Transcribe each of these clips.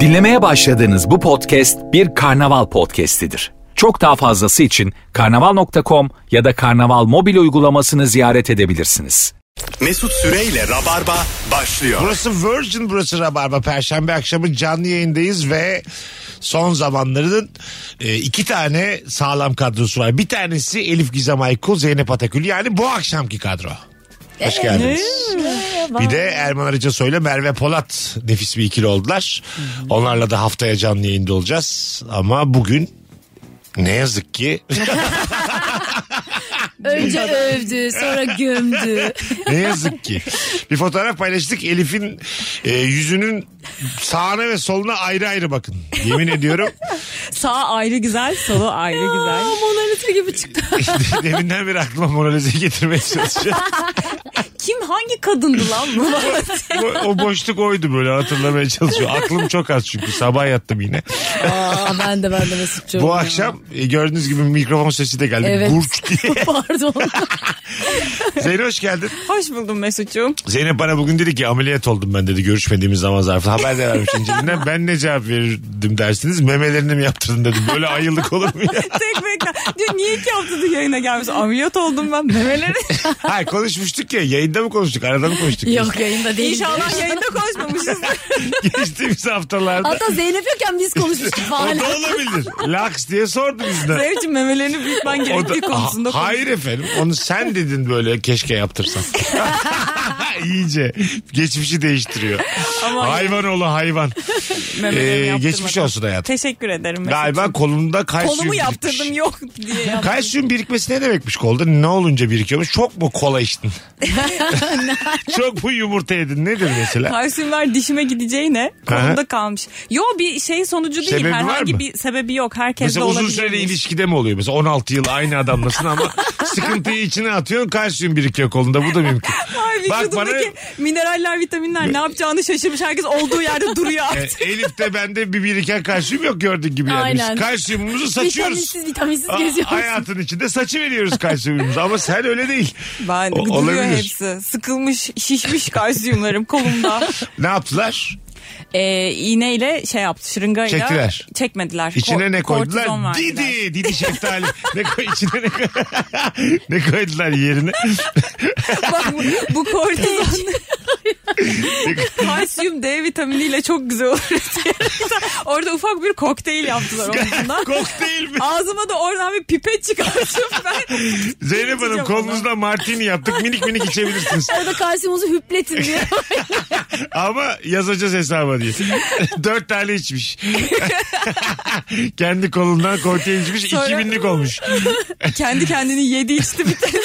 Dinlemeye başladığınız bu podcast bir karnaval podcastidir. Çok daha fazlası için karnaval.com ya da karnaval mobil uygulamasını ziyaret edebilirsiniz. Mesut Süreyle Rabarba başlıyor. Burası Virgin, burası Rabarba. Perşembe akşamı canlı yayındayız ve son zamanların e, iki tane sağlam kadrosu var. Bir tanesi Elif Gizem Aykul, Zeynep Atakül. Yani bu akşamki kadro. Hoş geldiniz. Bir de Erman Arıca Soy'la Merve Polat nefis bir ikili oldular. Onlarla da haftaya canlı yayında olacağız. Ama bugün ne yazık ki Önce övdü sonra gömdü. Ne yazık ki. Bir fotoğraf paylaştık. Elif'in e, yüzünün sağına ve soluna ayrı ayrı bakın. Yemin ediyorum. Sağ ayrı güzel, solu ayrı Aa, güzel. Mona Lisa gibi çıktı. Deminden beri aklıma moralize getirmeye çalışıyorum. Kim hangi kadındı lan bu? o, o boşluk oydu böyle hatırlamaya çalışıyorum. Aklım çok az çünkü sabah yattım yine. Aa, ben de ben de Mesut'cum. Bu akşam e, gördüğünüz gibi mikrofon sesi de geldi. Evet. Gurç diye. Pardon. Zeynep hoş geldin. Hoş buldum Mesut'cum. Zeynep bana bugün dedi ki ameliyat oldum ben dedi görüşmediğimiz zaman zarfı. Haber de vermiş incelinden. Ben ne cevap verirdim dersiniz. Memelerini mi yaptırdın dedim. Böyle ayılık olur mu ya? Tek bekle. Dün niye iki haftadır yayına gelmiş? Ameliyat oldum ben. Memeleri. Ha konuşmuştuk ya. Yayında mı konuştuk? Arada mı konuştuk? Yok yayında değil. İnşallah yayında konuşmamışız. Geçtiğimiz haftalarda. Hatta Zeynep yokken biz konuşmuştuk O falan. da olabilir. Laks diye sordu bizden. Zevçim memelerini büyütmen O da- gerektiği konusunda Ha- hayır efendim onu sen dedin böyle keşke yaptırsan. İyice geçmişi değiştiriyor. Ama- hayvan oğlu hayvan. konuştuk. Memelerini Ee, yaptırmadım. geçmiş olsun hayatım. Teşekkür ederim Mesut'cum. Galiba kolunda kalsiyum Kolumu birikmiş. yaptırdım yok diye yaptım. Kalsiyum birikmesi ne demekmiş kolda? Ne olunca birikiyormuş? Çok mu kola içtin? Çok mu yumurta yedin? Nedir mesela? Kalsiyumlar dişime gideceğine Aha. kolumda kalmış. Yo bir şey sonucu değil. Sebebi var Herhangi mı? bir sebebi yok. Herkes Mesela de uzun olabilir. süreli ilişkide mi oluyor? Mesela 16 yıl aynı adamlasın ama sıkıntıyı içine atıyorsun kalsiyum birikiyor kolunda. Bu da mümkün. Ay Bak vücudundaki bana mineraller, vitaminler ne yapacağını şaşırmış. Herkes olduğu yerde duruyor e, artık. Elif'te bende bir biriken kalsiyum yok gördüğün gibi yani. Aynen. Biz kalsiyumumuzu hani saçıyoruz. Vitaminsiz vitaminsiz A- geziyoruz. hayatın içinde saçı veriyoruz kalsiyumumuzu ama sen öyle değil. Ben O- duruyor olabilir. hepsi. Sıkılmış, şişmiş kalsiyumlarım kolumda. Ne yaptılar? Ee, iğneyle şey yaptı, şırıngayla. Çektiler. Çekmediler. İçine Ko- ne kortizon koydular? verdiler. Didi, didi şeftali. ne koy içine ne, koy- ne koydular yerine? Bak bu, bu kortizon. kalsiyum D vitaminiyle çok güzel olur. diye. Orada ufak bir kokteyl yaptılar onunla. Kokteyl mi? Ağzıma da oradan bir pipet çıkartıp ben Zeynep Hanım İçeceğim kolunuzda martini yaptık. Minik minik içebilirsiniz. Orada kalsiyumuzu hüpletin diye. Ama yazacağız hesaba diye. Dört tane içmiş. Kendi kolundan kokteyl içmiş. Sonra- iki binlik olmuş. kendi kendini yedi içti bir tane.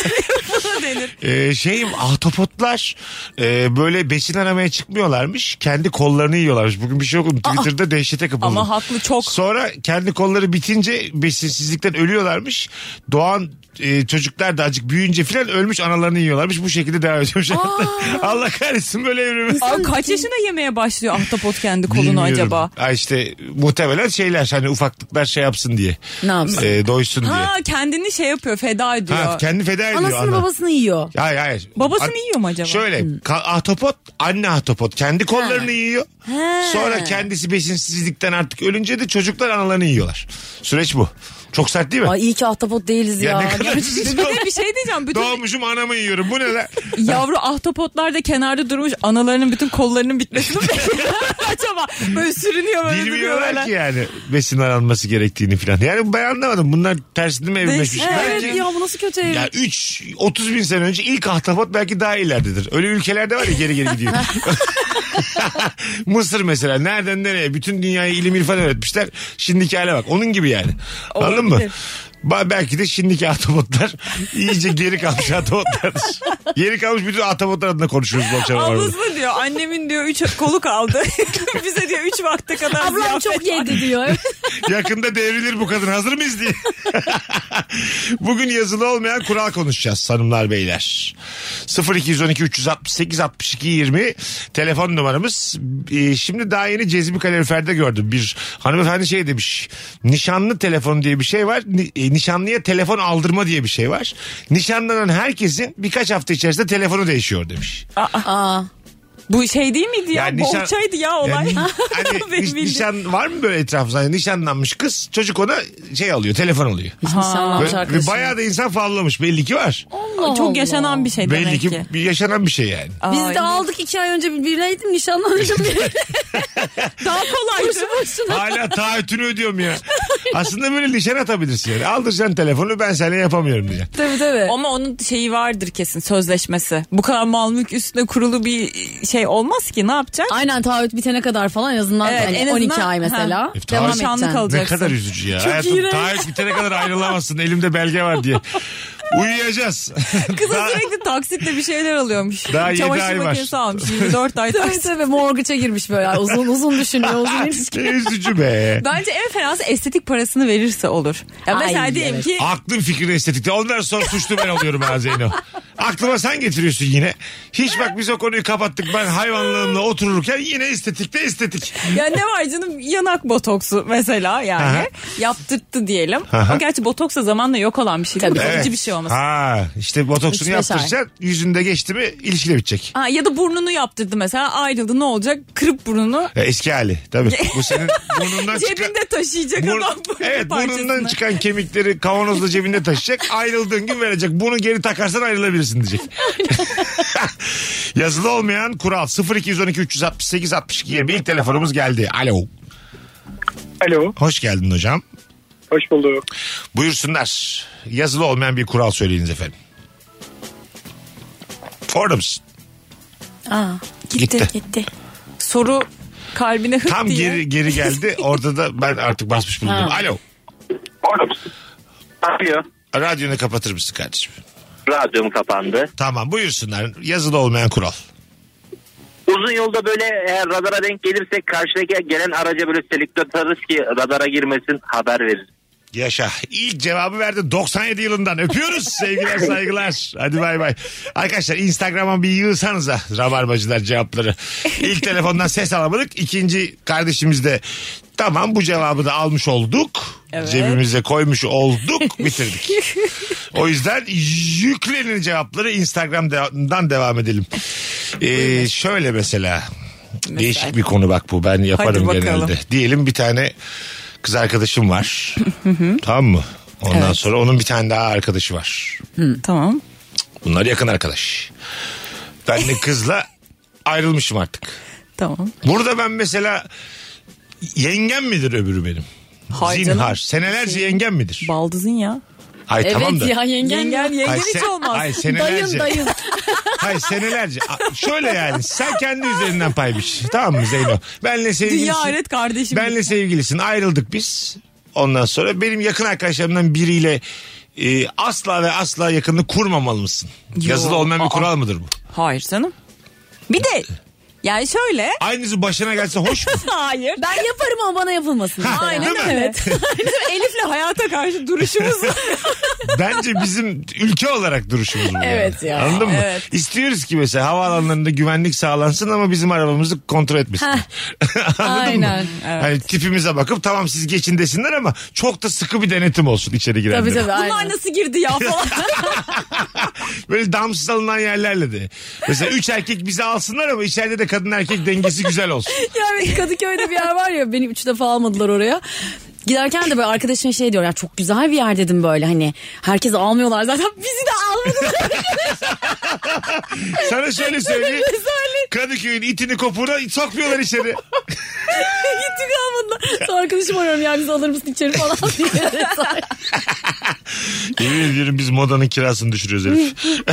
Buna denir. Ee, şey ahtapotlar e, böyle besin aramaya çıkmıyorlarmış. Kendi kollarını yiyorlarmış. Bugün bir şey okudum. Twitter'da dehşete kapıldım. Ama haklı çok. Sonra kendi kolları bitince besinsizlikten ölüyorlarmış. Doğan e, çocuklar da acık büyüyünce filan ölmüş analarını yiyorlarmış. Bu şekilde devam ediyormuş. hayatlar. Allah kahretsin böyle evrimi. Aa, kaç yaşında yemeye başlıyor ahtapot kendi kolunu Bilmiyorum. acaba? Ha işte muhtemelen şeyler hani ufaklıklar şey yapsın diye. Ne yapsın? E, doysun diye. Ha kendini şey yapıyor feda ediyor. Ha, kendi feda ediyor. Anasını ana. babasını yiyor. Hayır hayır. Babasını An- yiyor mu acaba? Şöyle Hmm. ka- ahtapot anne ahtapot kendi kollarını yiyor. Sonra kendisi besinsizlikten artık ölünce de çocuklar analarını yiyorlar. Süreç bu. Çok sert değil mi? Ay iyi ki ahtapot değiliz ya, ya. ne kadar Gerçekten. üzücü. Bir de bir şey diyeceğim. Bütün Doğmuşum anamı yiyorum. Bu ne lan? yavru ahtapotlar da kenarda durmuş. Analarının bütün kollarının bitmesini bekliyor. acaba böyle sürünüyor böyle duruyor Bilmiyorlar böyle. ki yani besin aranması gerektiğini falan. Yani ben anlamadım. Bunlar tersinde mi evrimleşmiş? Değişik. Belki... Evet ya bu nasıl kötü evrim? Ya 3 30 bin sene önce ilk ahtapot belki daha ileridedir. Öyle ülkelerde var ya geri geri gidiyor. Mısır mesela nereden nereye bütün dünyayı ilim irfan öğretmişler. Şimdiki hale bak. Onun gibi yani. Anladın mı? Olabilir. Ba- belki de şimdiki ahtapotlar iyice geri kalmış ahtapotlardır. geri kalmış bütün ahtapotlar adına konuşuyoruz bu akşam. arada. Ablası diyor annemin diyor üç kolu kaldı. Bize diyor üç vakte kadar Ablam ziyafet çok var. yedi diyor. Yakında devrilir bu kadın hazır mıyız diye. Bugün yazılı olmayan kural konuşacağız hanımlar beyler. 0212 368 62 20 telefon numaramız. Ee, şimdi daha yeni Cezmi Kalorifer'de gördüm. Bir hanımefendi şey demiş. Nişanlı telefonu diye bir şey var. Ni- e, nişanlıya telefon aldırma diye bir şey var. Nişanlanan herkesin birkaç hafta içerisinde telefonu değişiyor demiş. Aa. Bu şey değil miydi ya? Yani nişan- Bohçaydı ya olay. Yani, hani Benim niş- bildiğim. nişan var mı böyle etrafında? Hani nişanlanmış kız çocuk ona şey alıyor telefon alıyor. Hiç nişanlanmış Ve, ve arkadaşım. bayağı da insan favlamış belli ki var. Allah Çok Allah. yaşanan bir şey belli demek ki, ki. bir yaşanan bir şey yani. Biz de aldık iki ay önce birbirleydim nişanlanmışım diye. Daha kolaydı. Hala taahhütünü ödüyorum ya. Aslında böyle nişan atabilirsin yani. Aldır sen telefonu ben seninle yapamıyorum diye. tabii tabii. Ama onun şeyi vardır kesin sözleşmesi. Bu kadar mal mülk üstüne kurulu bir şey olmaz ki ne yapacak? Aynen taahhüt bitene kadar falan en azından Evet, hani en azından- 12 ay mesela. Ha. E, Devam taahhüt- Nişanlı edeceksin. kalacak. Ne Olacaksın. kadar üzücü ya. Çok Hayatım iğrenç. taahhüt bitene kadar ayrılamazsın. Elimde belge var diye. Uyuyacağız. Kıza Daha- sürekli taksitle bir şeyler alıyormuş. Daha yedi Çamaşır ay var. makinesi almış. 24 ay Tabii taksit. tabii morgaça girmiş böyle uzun uzun düşünüyor uzun ilişki. Ne üzücü be. Bence en fenası estetik parasını verirse olur. Ya mesela Ay, diyelim evet. ki Aklım fikrin estetikte. Ondan sonra suçlu ben oluyorum ha Zeyno. Aklıma sen getiriyorsun yine. Hiç bak biz o konuyu kapattık. Ben hayvanlığımla otururken yine estetikte estetik. ya ne var canım yanak botoksu mesela Aha. yani yaptırttı diyelim. Aha. O gerçi botoks da zamanla yok olan bir şey değil mi? Tabii. Kalıcı Evet. bir şey olmasın. Ha, işte botoksunu Üç beş ay. yaptıracaksın. Yüzünde geçti mi ilişki de bitecek. Ha, ya da burnunu yaptırdı mesela ayrıldı ne olacak? Kırıp burnunu Ya E, eski hali tabii. Bu senin burnundan çıkan... cebinde taşıyacak Burn- adam burnu evet parçasını. burnundan çıkan kemikleri kavanozla cebinde taşıyacak. Ayrıldığın gün verecek. Bunu geri takarsan ayrılabilirsin diyecek. Yazılı olmayan kural 0212 368 62 20 ilk telefonumuz geldi. Alo. Alo, Hoş geldin hocam. hoş bulduk. Buyursunlar. Yazılı olmayan bir kural söyleyiniz efendim. Orada mısın? Aa, gitti, Gitti. gitti Soru kalbine hık Tam diye. geri geri geldi. Orada da ben artık basmış bulundum. Alo. Orada mısın? Alo. Radyonu kapatır mısın kardeşim? Radyom kapandı. Tamam buyursunlar. Yazılı olmayan kural. Uzun yolda böyle eğer radara denk gelirsek karşıdaki gelen araca böyle selektör atarız ki radara girmesin haber verir. Yaşa. İlk cevabı verdi 97 yılından. Öpüyoruz sevgiler saygılar. Hadi bay bay. Arkadaşlar Instagram'a bir yığsanıza rabarbacılar cevapları. İlk telefondan ses alamadık. İkinci kardeşimiz de tamam bu cevabı da almış olduk. Evet. Cebimize koymuş olduk bitirdik. o yüzden yüklenin cevapları Instagram'dan devam edelim. Ee, şöyle mesela değişik bir konu bak bu ben yaparım Hadi bakalım. genelde. Diyelim bir tane kız arkadaşım var. tamam mı? Ondan Evet. sonra onun bir tane daha arkadaşı var. Tamam. Bunlar yakın arkadaş. Ben de kızla ayrılmışım artık. Tamam. Burada ben mesela yengem midir öbürü benim? Hayır Zinhar. canım. Şey- Senelerce yengem midir? Baldızın ya. Ay Evet E, tamam da. ya yengen. Yengen yengen Ay, hiç se- olmaz. ay, Dayın senelerce. dayın. Hayır senelerce. A- Şöyle yani sen kendi üzerinden pay biç. Tamam mı Zeyno? Benle sevgilisin. Dünya ahiret kardeşim. Benle sevgilisin ayrıldık biz. Ondan sonra benim yakın arkadaşlarımdan biriyle e, asla ve asla yakınlık kurmamalı mısın? Yo, Yazılı olmayan bir aa. kural mıdır bu? Hayır canım. Bir de yani şöyle. Aynısı başına gelse hoş mu? Hayır. Ben yaparım ama bana yapılmasın. Aynen Değil mi? öyle. Bizim Elif'le hayata karşı duruşumuz Bence bizim ülke olarak duruşumuz bu. yani. Evet ya. Anladın mı? Evet. İstiyoruz ki mesela havaalanlarında güvenlik sağlansın ama bizim arabamızı kontrol etmesin. Anladın Aynen, mı? Hani tipimize bakıp tamam siz geçin desinler ama çok da sıkı bir denetim olsun içeri girenlere. Tabii tabii bunlar aynen. nasıl girdi ya falan. Böyle damsız alınan yerlerle de. Mesela üç erkek bizi alsınlar ama içeride de kadın erkek dengesi güzel olsun. Yani Kadıköy'de bir yer var ya beni üç defa almadılar oraya. Giderken de böyle arkadaşım şey diyor ya çok güzel bir yer dedim böyle hani herkes almıyorlar zaten bizi de almadılar. Sana şöyle söyleyeyim. Kadıköy'ün itini kopuğuna sokmuyorlar içeri. Gittik almadılar. Sonra arkadaşım arıyorum ya bizi alır mısın içeri falan diye. Yemin ediyorum biz modanın kirasını düşürüyoruz herif.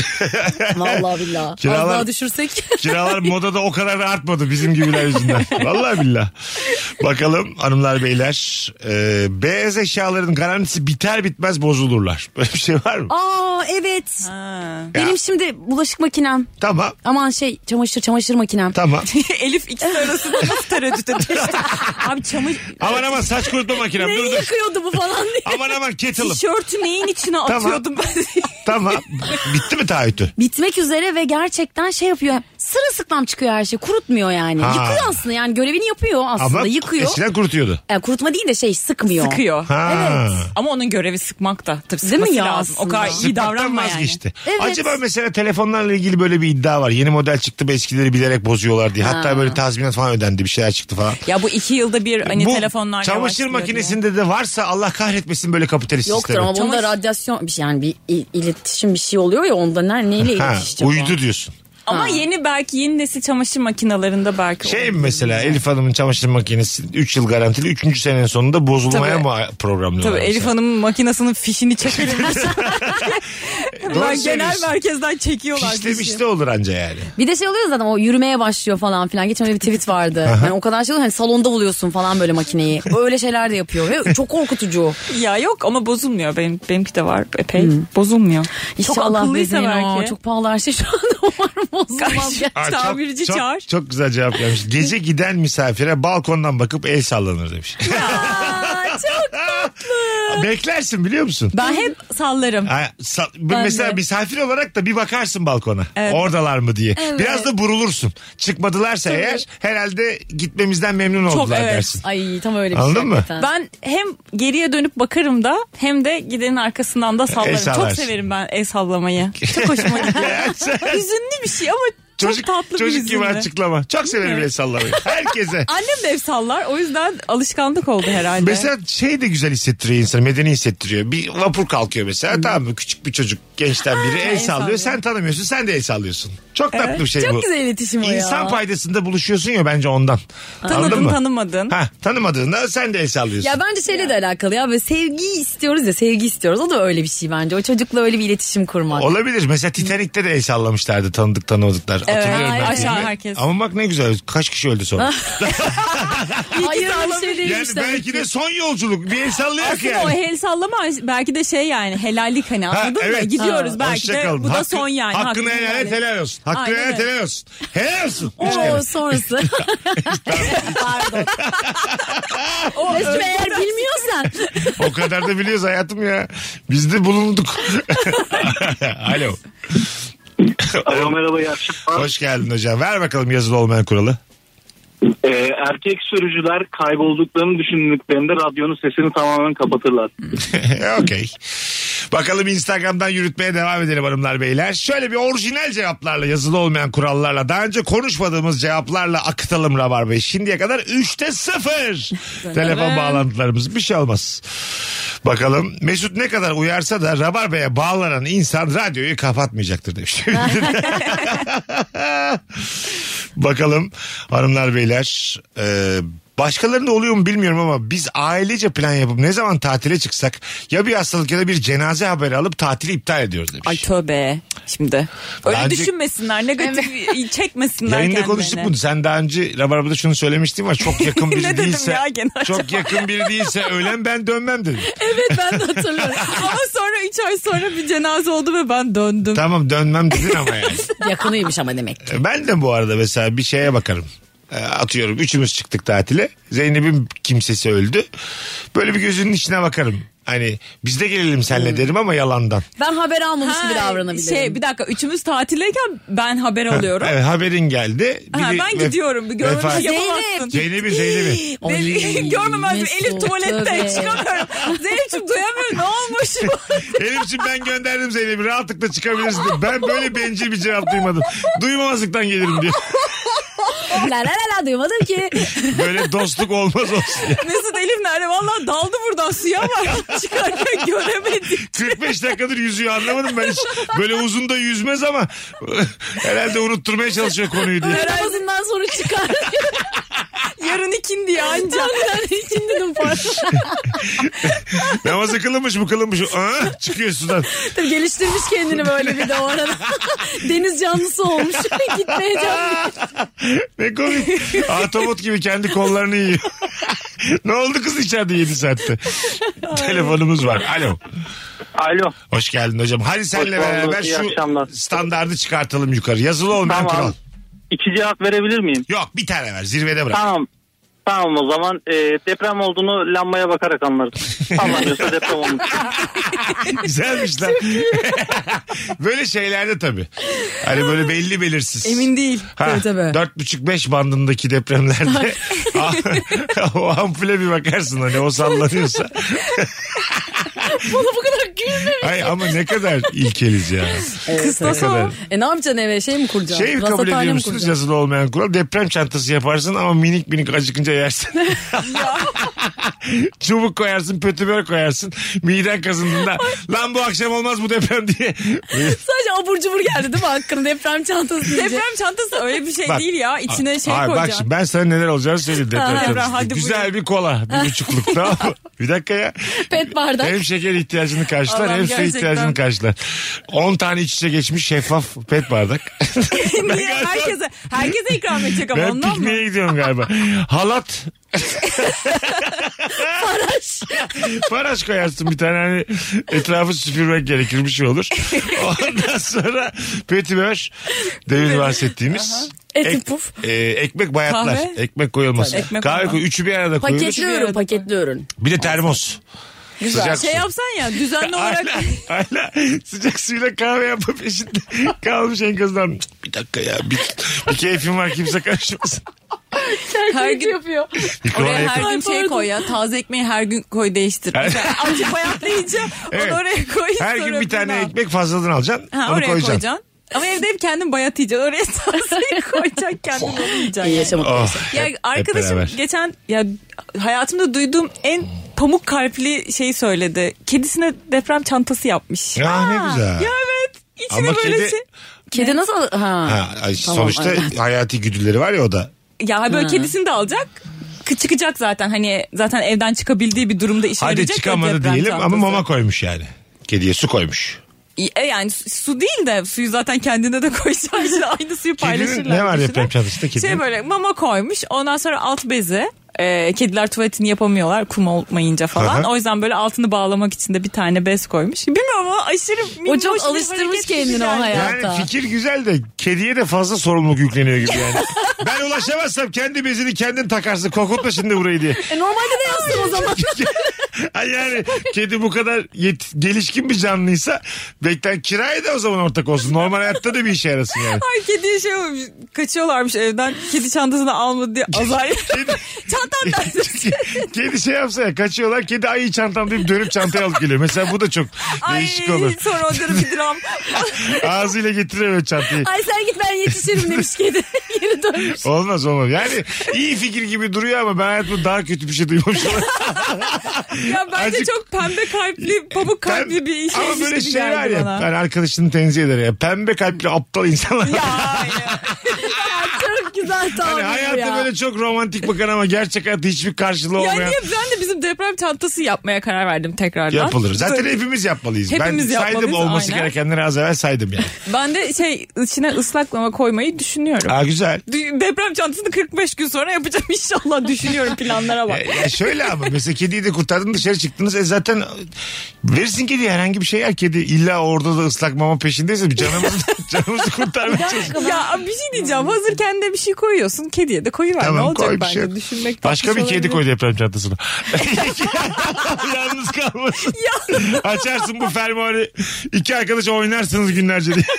Vallahi billahi. Az Kiralar- daha düşürsek. Kiralar modada o kadar artmadı bizim gibiler yüzünden. Vallahi billah. Bakalım hanımlar beyler. e, beyaz eşyaların garantisi biter bitmez bozulurlar. Böyle bir şey var mı? Aa evet. Ya. Benim şimdi bulaşık makinem. Tamam. Aman şey çamaşır çamaşır makinem. Tamam. Elif ikisi arasında nasıl tereddüte düştü? Abi çamaşır... Aman aman saç kurutma makinem dur Neyi Şey. dur. yıkıyordu bu falan diye. Aman aman kettle'ım. Tişörtü neyin içine Tamam. atıyordum ben? Tamam. Bitti mi taahhütü? Bitmek üzere ve gerçekten şey yapıyor. Sırılsıklam çıkıyor her şey. Kurutmuyor yani. Ha. Yıkıyor aslında yani görevini yapıyor aslında. Ama yıkıyor. eskiden kurutuyordu. Yani kurutma değil de şey sıkmıyor. Sıkıyor. Ha. Ama onun görevi sıkmak da. Tabii Değil mi sıkması ya lazım. O aslında? kadar iyi Sıkmaktan davranma vazgeçti. Evet. Acaba mesela telefonlarla ilgili böyle bir iddia var. Yeni model çıktı ve eskileri bilerek bozuyorlar diye. Hatta Ha. böyle tazminat falan ödendi bir şeyler çıktı falan. yani. Ya bu iki yılda bir hani Bu telefonlar çamaşır yavaşlıyor makinesinde de varsa Allah kahretmesin böyle kapitalist Yoktur sistemi. ama bunda Çamaşır- radyasyon bir şey yani bir il- iletişim bir şey oluyor ya onda ne, neyle Ha, iletişecek şey o? uydu diyorsun. diye. Ama Ha. yeni belki yeni nesil çamaşır makinelerinde belki. Şey mi olabilir. mesela Elif Hanım'ın çamaşır makinesi 3 yıl garantili 3. senenin sonunda bozulmaya Tabii. mı programlıyorlar? Tabii Elif mesela? Hanım'ın makinesinin fişini çekebilmiş. Doğru ben genel söylüyorsun. merkezden çekiyorlar. fişi. Fişlemiş de olur anca yani. Bir de şey oluyor zaten o yürümeye başlıyor falan filan. Geçen öyle bir tweet vardı. Yani o kadar şey oluyor hani salonda buluyorsun falan böyle makineyi. Öyle şeyler de yapıyor ve çok korkutucu. Ya yok ama bozulmuyor. Benim benimki de var epey. Bozulmuyor. Hmm. İnşallah çok akıllıysa bezin. Aa, belki. çok pahalı her şey şu anda umarım bozulmaz. Karşı- ya. Aa, Tamirci çok, çağır. Çok, çok güzel cevap vermiş. Gece giden misafire balkondan bakıp el sallanır demiş. Aa, çok- Beklersin biliyor musun? Ben hep sallarım. Ha, sa- Ben mesela de. misafir olarak da bir bakarsın balkona. Evet. Oradalar mı diye. Evet. Biraz da burulursun. Çıkmadılarsa eğer herhalde gitmemizden memnun Çok oldular evet. dersin. Ay tam öyle bir şey. Anladın mı? hakikaten. Ben hem geriye dönüp bakarım da hem de gidenin arkasından da El sallarım. Çok sallarsın. severim ben el sallamayı. Çok hoşuma gidiyor. Hüzünlü bir şey ama çok Çocuk, tatlı bir çocuk gibi hüzünlü. açıklama. Çok severim el sallamayı. Herkese. Annem de ev sallar o yüzden alışkanlık oldu herhalde. Mesela şey de güzel hissettiriyor insanı. Medeni hissettiriyor. Bir vapur kalkıyor mesela. Tamam mı? Küçük bir çocuk gençten biri el el sallıyor. sallıyor. Sen tanımıyorsun. Sen de el sallıyorsun. Çok tatlı bir şey bu. Çok güzel iletişim o ya. İnsan paydasında buluşuyorsun ya bence ondan. Anladın Tanıdın mı? tanımadın. Ha, tanımadığında sen de el sallıyorsun. Ya bence şeyle de alakalı ya böyle sevgi istiyoruz ya sevgi istiyoruz o da öyle bir şey bence o çocukla öyle bir iletişim kurmak. Olabilir. Mesela Titanik'te de el sallamışlardı tanıdık tanımadıklar. Hatırlıyorum Ay, ben. aşağı filmi. herkes. Ama bak ne güzel. Kaç kişi öldü sonra. Hayır bir şey yani değilmiş demek belki de ki. son yolculuk. Bir el sallayak Aslında o yani. el sallama belki de şey yani helallik hani anladın evet. mı? Gidiyoruz Ha, belki hoşça de kalın. bu da Hakkı- son yani. Hakkını helal et helal olsun. Hakkını Aynen helal et öyle. helal olsun. Helal olsun. Üç kere. Oo sonrası. Pardon. Mesut eğer bilmiyorsan. O kadar da biliyoruz hayatım ya. Biz de bulunduk. Alo. Alo merhaba iyi akşamlar. Hoş geldin hocam. Ver bakalım yazılı olmayan kuralı. Ee, erkek sürücüler kaybolduklarını düşündüklerinde radyonun sesini tamamen kapatırlar. Okey. Bakalım Instagram'dan yürütmeye devam edelim hanımlar beyler. Şöyle bir orijinal cevaplarla yazılı olmayan kurallarla daha önce konuşmadığımız cevaplarla akıtalım Rabarba'yı. Şimdiye kadar 3'te 0 telefon bağlantılarımız bir şey olmaz. Bakalım Mesut ne kadar uyarsa da Rabarba'ya bağlanan insan radyoyu kapatmayacaktır demiş. Bakalım hanımlar beyler. Ee, başkalarında oluyor mu bilmiyorum ama biz ailece plan yapıp ne zaman tatile çıksak ya bir hastalık ya da bir cenaze haberi alıp tatili iptal ediyoruz demiş. Ay tövbe şimdi. Öyle Bence- düşünmesinler negatif çekmesinler Yayında kendilerini. konuştuk bunu. Sen daha önce Rabarba'da şunu söylemiştin var. Çok yakın biri Ne dedim değilse. ya genel çok cevap? yakın biri değilse ölen ben dönmem dedim. Evet ben de hatırlıyorum. Ama sonra 3 ay sonra bir cenaze oldu ve ben döndüm. Tamam dönmem dedin ama yani. Yakınıymış ama demek. E, Ben de bu arada mesela bir şeye bakarım. Ee, Atıyorum üçümüz çıktık tatile. Zeynep'in kimsesi öldü. Böyle bir gözünün içine bakarım. Hani biz de gelelim Hmm. senle derim ama yalandan. Ben haber almamış gibi Ha, davranabilirim. Şey bir dakika üçümüz tatildeyken ben haber alıyorum. Evet, haberin geldi. Ha, Biri ben vef- gidiyorum. Bir vefat- görmemiş yapamazsın. Zeynep'i Zeynep'i. Ay, Dedim, Görmemez mi? Elif Mesut, tuvalette tövbe. çıkamıyorum. Zeynep'ciğim duyamıyorum ne olmuş? Elif'ciğim ben gönderdim Zeynep'i rahatlıkla çıkabilirsin. diye. Ben böyle bencil bir cevap duymadım. Duymamazlıktan gelirim diye. La la la la duymadım ki. Böyle dostluk olmaz olsun. Mesut Elif nerede? Valla daldı buradan suya var. Çıkarken göremedim. 45 dakikadır yüzüyor anlamadım ben hiç. Böyle uzun da yüzmez ama herhalde unutturmaya çalışıyor konuyu diye. Namazından sonra çıkar. Yarın ikindi ya anca. Ben için dedim pardon. Namazı kılınmış mı kılınmış mı? Aa, çıkıyor sudan. Tabii geliştirmiş kendini böyle bir de o arada. Deniz canlısı olmuş. Gitmeye can. Ne komik. Atomot gibi kendi kollarını yiyor. ne oldu kız içeride 7 saatte? Telefonumuz var. Alo. Alo. Hoş geldin hocam. Hadi senle bulduk, beraber iyi şu akşamlar. standardı çıkartalım yukarı. Yazılı olmayan Tamam. kural. İki cevap verebilir miyim? Yok bir tane ver zirvede bırak. Tamam. Tamam o zaman e, deprem olduğunu lambaya bakarak anlarız. Tamam diyorsa deprem olmuş. Güzelmiş lan. böyle şeylerde tabii. Hani böyle belli belirsiz. Emin değil. Ha, Tabii, tabii. Dört buçuk beş bandındaki depremlerde o ampule bir bakarsın hani o sallanıyorsa. Bana bu kadar gülme. Ay ama ne kadar ilkeliz ya. Kıstası o. E ne yapacaksın eve şey mi kuracaksın? Şey kabul Rasathane ediyor mi musunuz kuracaksın? yazılı olmayan kural? Deprem çantası yaparsın ama minik minik acıkınca yersin. Çubuk koyarsın, pötübör koyarsın. Miden kazındığında lan bu akşam olmaz bu deprem diye. Sadece abur cubur geldi değil mi hakkında deprem çantası diyecek. Deprem çantası öyle bir şey Bak. değil ya. İçine şey Hayır, bak koyacaksın. şimdi ben sana neler olacağını söyleyeyim deprem Ha, Ebrar, çantası. hadi Güzel bir kola bir buçukluk tamam mı? Bir dakika ya. Pet bardak. Hem şeker ihtiyacını karşılar Adam hem su gerçekten- ihtiyacını karşılar. 10 tane iç içe geçmiş şeffaf pet bardak. Ben Niye galiba- herkese, herkese ikram edecek ama Ben ondan mı? pikniğe gidiyorum galiba. Halat. Faraş. Faraş koyarsın bir tane hani etrafı süpürmek gerekir bir şey olur. Ondan sonra petibör demin bahsettiğimiz. Eti ek- puf. e, ekmek bayatlar. Kahve. Ekmek koyulmaz. Tabii, ekmek Kahve olmaz. koy. Üçü bir arada koyulur. Paketli ürün paketli ürün. Bir de termos. Güzel. Sıcak Şey su. yapsan ya düzenli olarak Hala, hala sıcak suyla kahve yapma peşinde kalmış enkazdan. Bir dakika ya bir, bir keyfim var kimse karışmasın. her gün Mikrofona oraya yakın. her gün şey koy ya taze ekmeği her gün koy değiştir. Her- Mesela Azıcık bayatlayınca Evet. onu oraya koy. Her gün sonra bir tane bunu al. ekmek fazladan alacaksın. Ha, onu oraya koyacaksın. koyacaksın. Ama evde hep kendin bayat yiyeceksin. Oraya tazeyi koyacaksın kendin onu yiyeceksin. İyi yani. yaşamak. Oh, Ya hep- hep arkadaşım beraber. geçen ya hayatımda duyduğum en pamuk kalpli şeyi söyledi. Kedisine deprem çantası yapmış. Ya ne güzel. Ya evet. İçine Ama böyle kedi- şey. Kedi nasıl? Ha. Ha, ay, Tamam, sonuçta evet. hayati güdüleri var ya o da. Ya böyle Ha. kedisini de alacak. Kı- Çıkacak zaten hani zaten evden çıkabildiği bir durumda işe Hadi yarayacak. ya çıkamadı deprem diyelim ama çantası. mama koymuş yani. Kediye su koymuş. E, Yani su- su değil de suyu zaten kendine de koyacak. İşte aynı suyu paylaşırlar. ne var kişiler. deprem çantasında kedinin? Şey böyle mama koymuş ondan sonra alt bezi. E, kediler tuvaletini yapamıyorlar kum olmayınca falan. Aha. O yüzden böyle altını bağlamak için de bir tane bez koymuş. Bilmiyorum ama aşırı O minnoş bir çok alıştırmış hareket gibi kendini o geldi. Yani hayata. fikir güzel de kediye de fazla sorumluluk yükleniyor gibi yani. ben ulaşamazsam kendi bezini kendin takarsın. Kokutma şimdi burayı diye. E, normalde de yapsın o zaman. Ay yani kedi bu kadar yet- gelişkin bir canlıysa beklen kiraya da o zaman ortak olsun. Normal hayatta da bir işe yarasın yani. Ay kediye şey olmuş, kaçıyorlarmış evden. Kedi çantasını almadı diye azay. Kedi- Çantam nerede? kedi şey yapsa ya kaçıyorlar kedi ayı çantam deyip dönüp çantayı alıp geliyor. Mesela bu da çok Ay değişik olur. sonra onlara bir dram. Ağzıyla getiriyor böyle çantayı. Ay sen git ben yetişirim demiş kedi. Geri dönmüş. Olmaz olmaz. Yani iyi fikir gibi duruyor ama ben hayatımda daha kötü bir şey duymamışım. Ya bence Azıcık- çok pembe kalpli, pamuk kalpli bir şey. Ama böyle gibi şey var geldi ya. bana. Ben arkadaşını tenzih eder ya. Pembe kalpli aptal insanlar. Ya, ya. Çok güzel Hani tabir hayata ya. böyle çok romantik bakan ama gerçek hayatta hiçbir karşılığı Ya olmayan. niye ben de bizim deprem çantası yapmaya karar verdim tekrardan. Yapılır. Zaten Böyle- hepimiz yapmalıyız. Hepimiz ben saydım yapmalıyız, olması aynen. gerekenleri az evvel saydım yani. Ben de şey içine ıslaklama koymayı düşünüyorum. Aa güzel. Dü- Deprem çantasını 45 gün sonra yapacağım inşallah düşünüyorum planlara bak. Ya- E, Ya şöyle ama mesela kediyi de kurtardın dışarı çıktınız. E zaten verirsin kediye herhangi bir şey yer. Kedi illa orada da ıslak mama peşindeyse bir canımızı, canımızı kurtarmaya çalışır. ya bir şey diyeceğim hazır kendine bir şey koyuyorsun kediye de koyuver ne Tamam olacak koy bir bence şey. yok. düşünmek Başka bir tatlış kedi olabilir. koy deprem çantasına. Yalnız kalmasın. Açarsın bu fermuarı. İki arkadaş oynarsınız günlerce diye.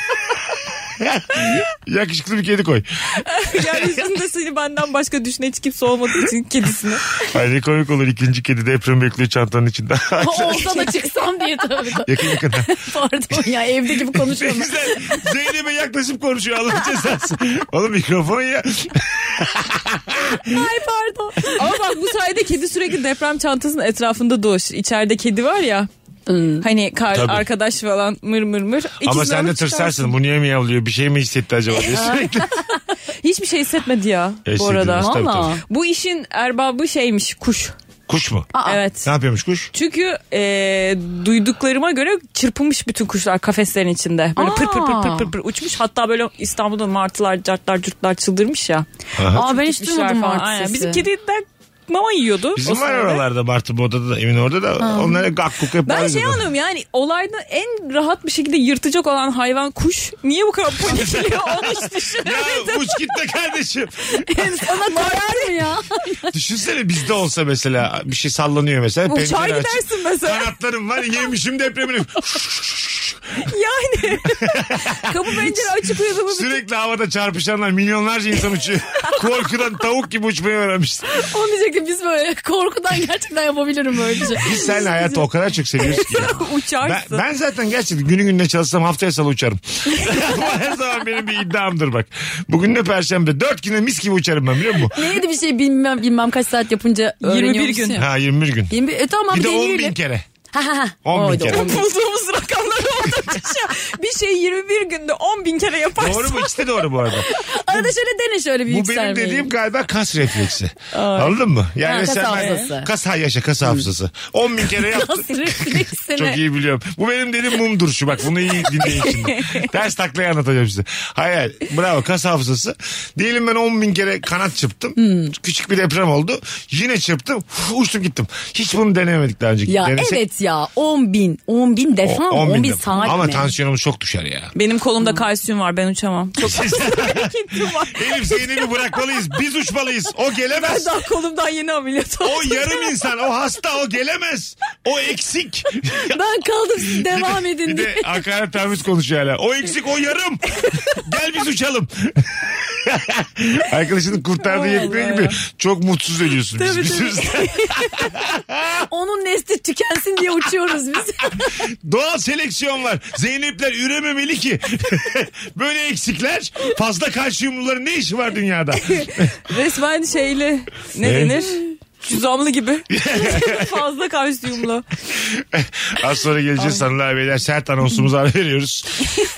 Yakışıklı bir kedi koy. Yeryüzünde seni benden başka düşünen hiç kimse olmadığı için kedisini. Ay ne komik olur ikinci kedi deprem bekliyor çantanın içinde. Olsa da çıksam diye tabii. yakın yakın. Pardon ya evde gibi Ne konuşuyorum. güzel. Zeynep'e yaklaşıp konuşuyor Allah cezası. Oğlum mikrofon ya. Ay pardon. Ama bak bu sayede kedi sürekli deprem çantasının etrafında dolaşır. İçeride kedi var ya. Hmm. Hani kar, Tabii. arkadaş falan mır mır mır. Ama İkisini sen de alıp tırsarsın. çıkarsın. Bu niye mi yavlıyor? Bir şey mi hissetti acaba diye sürekli. Hiçbir şey hissetmedi ya Hissedilmez, bu arada. tabii, Vallahi. tabii. Bu işin erbabı şeymiş kuş. Kuş mu? Evet. Ne yapıyormuş kuş? Çünkü e, duyduklarıma göre çırpınmış bütün kuşlar kafeslerin içinde. Böyle pır pır pır pır pır pır uçmuş. Hatta böyle İstanbul'da martılar, cartlar, cürtler çıldırmış ya. Aa ben hiç Gitmişler duymadım falan. artık Aynen. sesi. Bizim kediden mama yiyordu. Bizim o var sırada. oralarda Bartın Boda'da da evin orada da onlara gak kuk hep Ben var şey dedi. anlıyorum yani olayda en rahat bir şekilde yırtacak olan hayvan kuş. Niye bu kadar panikliyor onu hiç Ya düşünemedim. uç git de kardeşim. Sana koyar mı ya? Düşünsene bizde olsa mesela bir şey sallanıyor mesela. Uçar pencere açık. gidersin mesela. Kanatlarım var yemişim depremini. yani kapı pencere açık uyuduğumu Sürekli havada çarpışanlar milyonlarca insan uçuyor. Korkudan tavuk gibi uçmayı öğrenmişti. Onu diyecektim biz böyle korkudan gerçekten yapabilirim böyle bir şey. Biz seninle hayatı o kadar çok seviyoruz ki. ya. Ben, uçarsın. ben zaten gerçekten günü gününe çalışsam haftaya salı uçarım. Bu her zaman benim bir iddiamdır bak. Bugün ne perşembe? Dört güne mis gibi uçarım ben biliyor musun? Neydi bir şey bilmem bilmem kaç saat yapınca 21 gün. öğreniyormuşsun ya. Ha 21 gün. 21 e tamam Bir de 10 bin deneyelim. kere. Ha ha ha. 10 bin Oydu, kere. on bin. Bulduğumuz rakamlar oldu. bir şey 21 günde 10 bin kere yaparsın. Doğru mu? İşte doğru bu arada. Arada şöyle dene şöyle bir Bu yükselmeyi. benim dediğim galiba kas refleksi. Anladın mı? Ha, Yani kas sen hafızası. kas ha yaşa kas hafızası. 10 bin kere yaptın. Nasıl refleksini? Çok iyi biliyorum. Bu benim dediğim mum duruşu. Bak bunu iyi dinleyin şimdi. Ters taklayı anlatacağım size. Hayır bravo kas hafızası. Diyelim ben 10 bin kere kanat çırptım. Hmm. Küçük bir deprem oldu. Yine çırptım. Uf, uçtum gittim. Hiç bunu denemedik daha önce. Ya Denesek- evet ya 10 bin 10 bin defa mı? O- 10 bin, defa. saat Ama mi? tansiyonumuz çok düşer ya. Benim kolumda kalsiyum var ben uçamam. Çok hareketim var. Elif Zeynep'i bırakmalıyız. Biz uçmalıyız. O Ben gelemez. daha kolumdan yeni ameliyat oldum. O yarım insan. O hasta. O gelemez. O eksik. Ben kaldım siz devam edin Bir diye. de hakaret taviz konuşuyor hala. O eksik o yarım. Gel biz uçalım. Arkadaşını kurtardığı yetmiyor gibi çok mutsuz ölüyorsun. Biz, Tabii, biz- tabii. biz- Onun nesli tükensin diye uçuyoruz biz. doğal seleksiyon var. Zeynepler ürememeli ki. Böyle eksikler fazla kalsiyumluların ne işi var dünyada? Resmen şeyli ne Ne? denir? Cüzamlı gibi. Fazla kalsiyumlu. Az sonra geleceğiz hanımlar beyler. Sert anonsumuzu ara veriyoruz.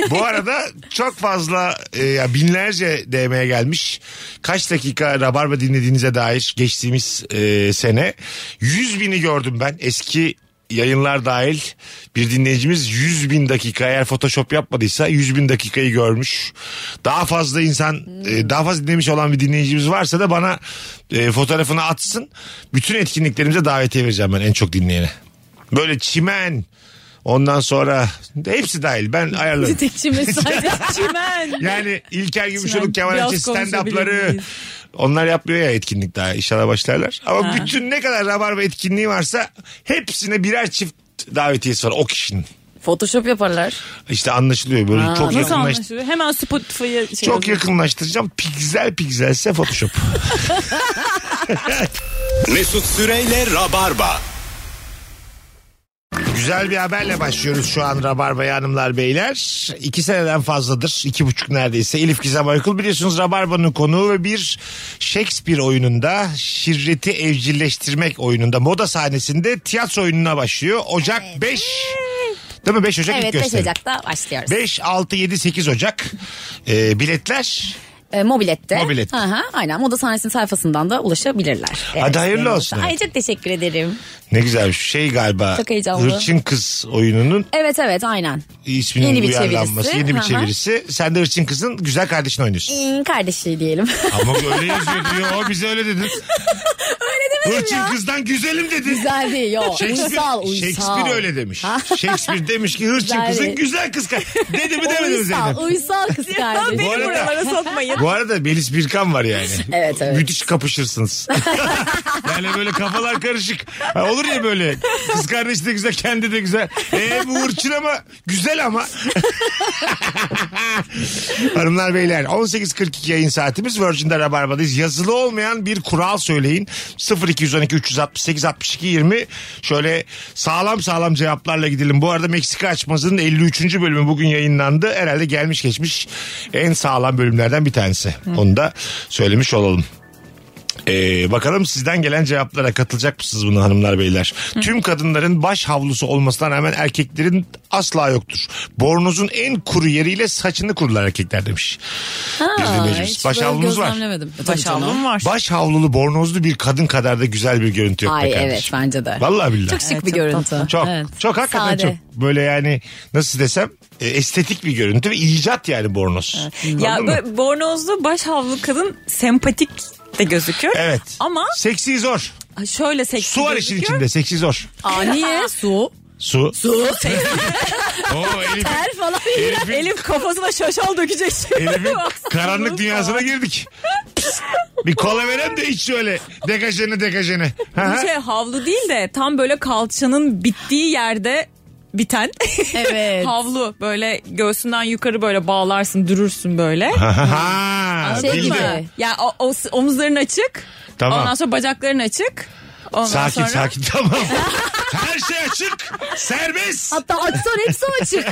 Bu arada çok fazla e, ya binlerce DM'ye gelmiş. Kaç dakika Rabarba dinlediğinize dair geçtiğimiz e, sene. 100 bini gördüm ben eski yayınlar dahil bir dinleyicimiz 100 bin dakika eğer photoshop yapmadıysa 100 bin dakikayı görmüş. Daha fazla insan e, daha fazla dinlemiş olan bir dinleyicimiz varsa da bana e, fotoğrafını atsın. Bütün etkinliklerimize davetiye vereceğim ben en çok dinleyene. Böyle çimen ondan sonra hepsi dahil ben ayarlarım. Tek şimdi sadece. Çimen. Yani İlker Gümüşoluk, Sinan, Kemal biraz Ayça konuşabilir stand-up'ları miyiz? onlar yapmıyor ya etkinlik daha inşallah başlarlar. Ama Ha. bütün ne kadar rabarba etkinliği varsa hepsine birer çift davetiyesi var o kişinin. Photoshop yaparlar. İşte anlaşılıyor böyle çok Nasıl yakınlaş anlaşılıyor? Hemen Spotify'a şey çok yazıyor. yakınlaştıracağım. Piksel pikselse Photoshop. Mesut Süreyle Rabarba. Güzel bir haberle başlıyoruz şu an Rabarba'ya hanımlar beyler. İki seneden fazladır. iki buçuk neredeyse. Elif Gizem Aykul biliyorsunuz Rabarba'nın konuğu ve bir Shakespeare oyununda şirreti evcilleştirmek oyununda moda sahnesinde tiyatro oyununa başlıyor. Ocak 5. Değil mi? 5 Ocak ilk Evet 5 gösterim. Ocak'ta başlıyoruz. 5, 6, 7, 8 Ocak. Ee, biletler E, mobilette. Mobilette. Hı hı, aynen moda sahnesinin sayfasından da ulaşabilirler. Hadi hayırlı benim olsun. olsa. Ay çok teşekkür ederim. ne güzel şey galiba. Çok heyecanlı. Hırçın Kız oyununun Evet evet aynen. isminin Yeni bir uyarlanması. çevirisi. Yeni bir Hı hı. çevirisi. Sen de Hırçın Kız'ın güzel kardeşini oynuyorsun. İyi kardeşi diyelim. Ama öyle yazıyor diyor. O bize öyle dedin. öyle demedim ya. kızdan güzelim dedin. Güzel değil yo. uysal uysal. Shakespeare öyle demiş. Ha? Şekspir demiş ki hırçın Güzel kızın değil. güzel kız. kar- Dedi mi demedi mi Zeynep? Uysal, uysal kız Lan kardeşi. beni Bu arada- buralara sokmayın. Bu arada Melis Birkan var yani. Evet, evet. Müthiş kapışırsınız. yani böyle kafalar karışık. Ha, olur ya böyle. Kız kardeşi de güzel, kendi de güzel. Ee bu hırçın ama güzel ama. Hanımlar beyler 18.42 yayın saatimiz Virgin'de Rabarba'dayız. Yazılı olmayan bir kural söyleyin. 0212 368 62 20 şöyle sağlam sağlam cevaplarla gidelim. Bu arada Meksika açmazının 53. bölümü bugün yayınlandı. Herhalde gelmiş geçmiş en sağlam bölümlerden bir tanesi. Onu da söylemiş olalım. Ee, bakalım sizden gelen cevaplara katılacak mısınız buna hanımlar beyler? Tüm kadınların baş havlusu olmasına rağmen erkeklerin asla yoktur. Bornozun en kuru yeriyle saçını kururlar erkekler demiş. Bir dinleyicimiz. hiç Baş böyle havlumuz var. gözlemlemedim. E, tabii Baş canım. aldım var. Baş havlulu bornozlu bir kadın kadar da güzel bir görüntü yok. be Ay kardeşim. evet bence de. Vallahi billahi. Çok şık Evet, bir çok görüntü. tatlı. Çok Evet. çok hakikaten Sade. çok böyle yani nasıl desem e, estetik bir görüntü ve icat yani bornoz. Ya Anladın mı? böyle bornozlu baş havlu kadın sempatik de gözükür. Evet. Ama Seksi zor. şöyle seksi Su var işin gözüküyor. içinde. Seksi zor. Aa niye? Su. Su. Su. Oo, Elif, Ter falan. Elif'in, Elif kafasına şaşal dökecek şimdi. Elif'in karanlık dünyasına girdik. Bir kola verem de iç şöyle. Dekajene dekajene. Ha ha. Bu şey havlu değil de tam böyle kalçanın bittiği yerde biten Evet. havlu böyle göğsünden yukarı böyle bağlarsın dürürsün böyle. Ha, Şey bildim. gibi. Ya o, o- omuzların açık. Tamam. Ondan sonra bacakların açık. Ondan Sakin sonra... sakin tamam. Her şey açık. Serbest. Hatta açsan hepsi açık.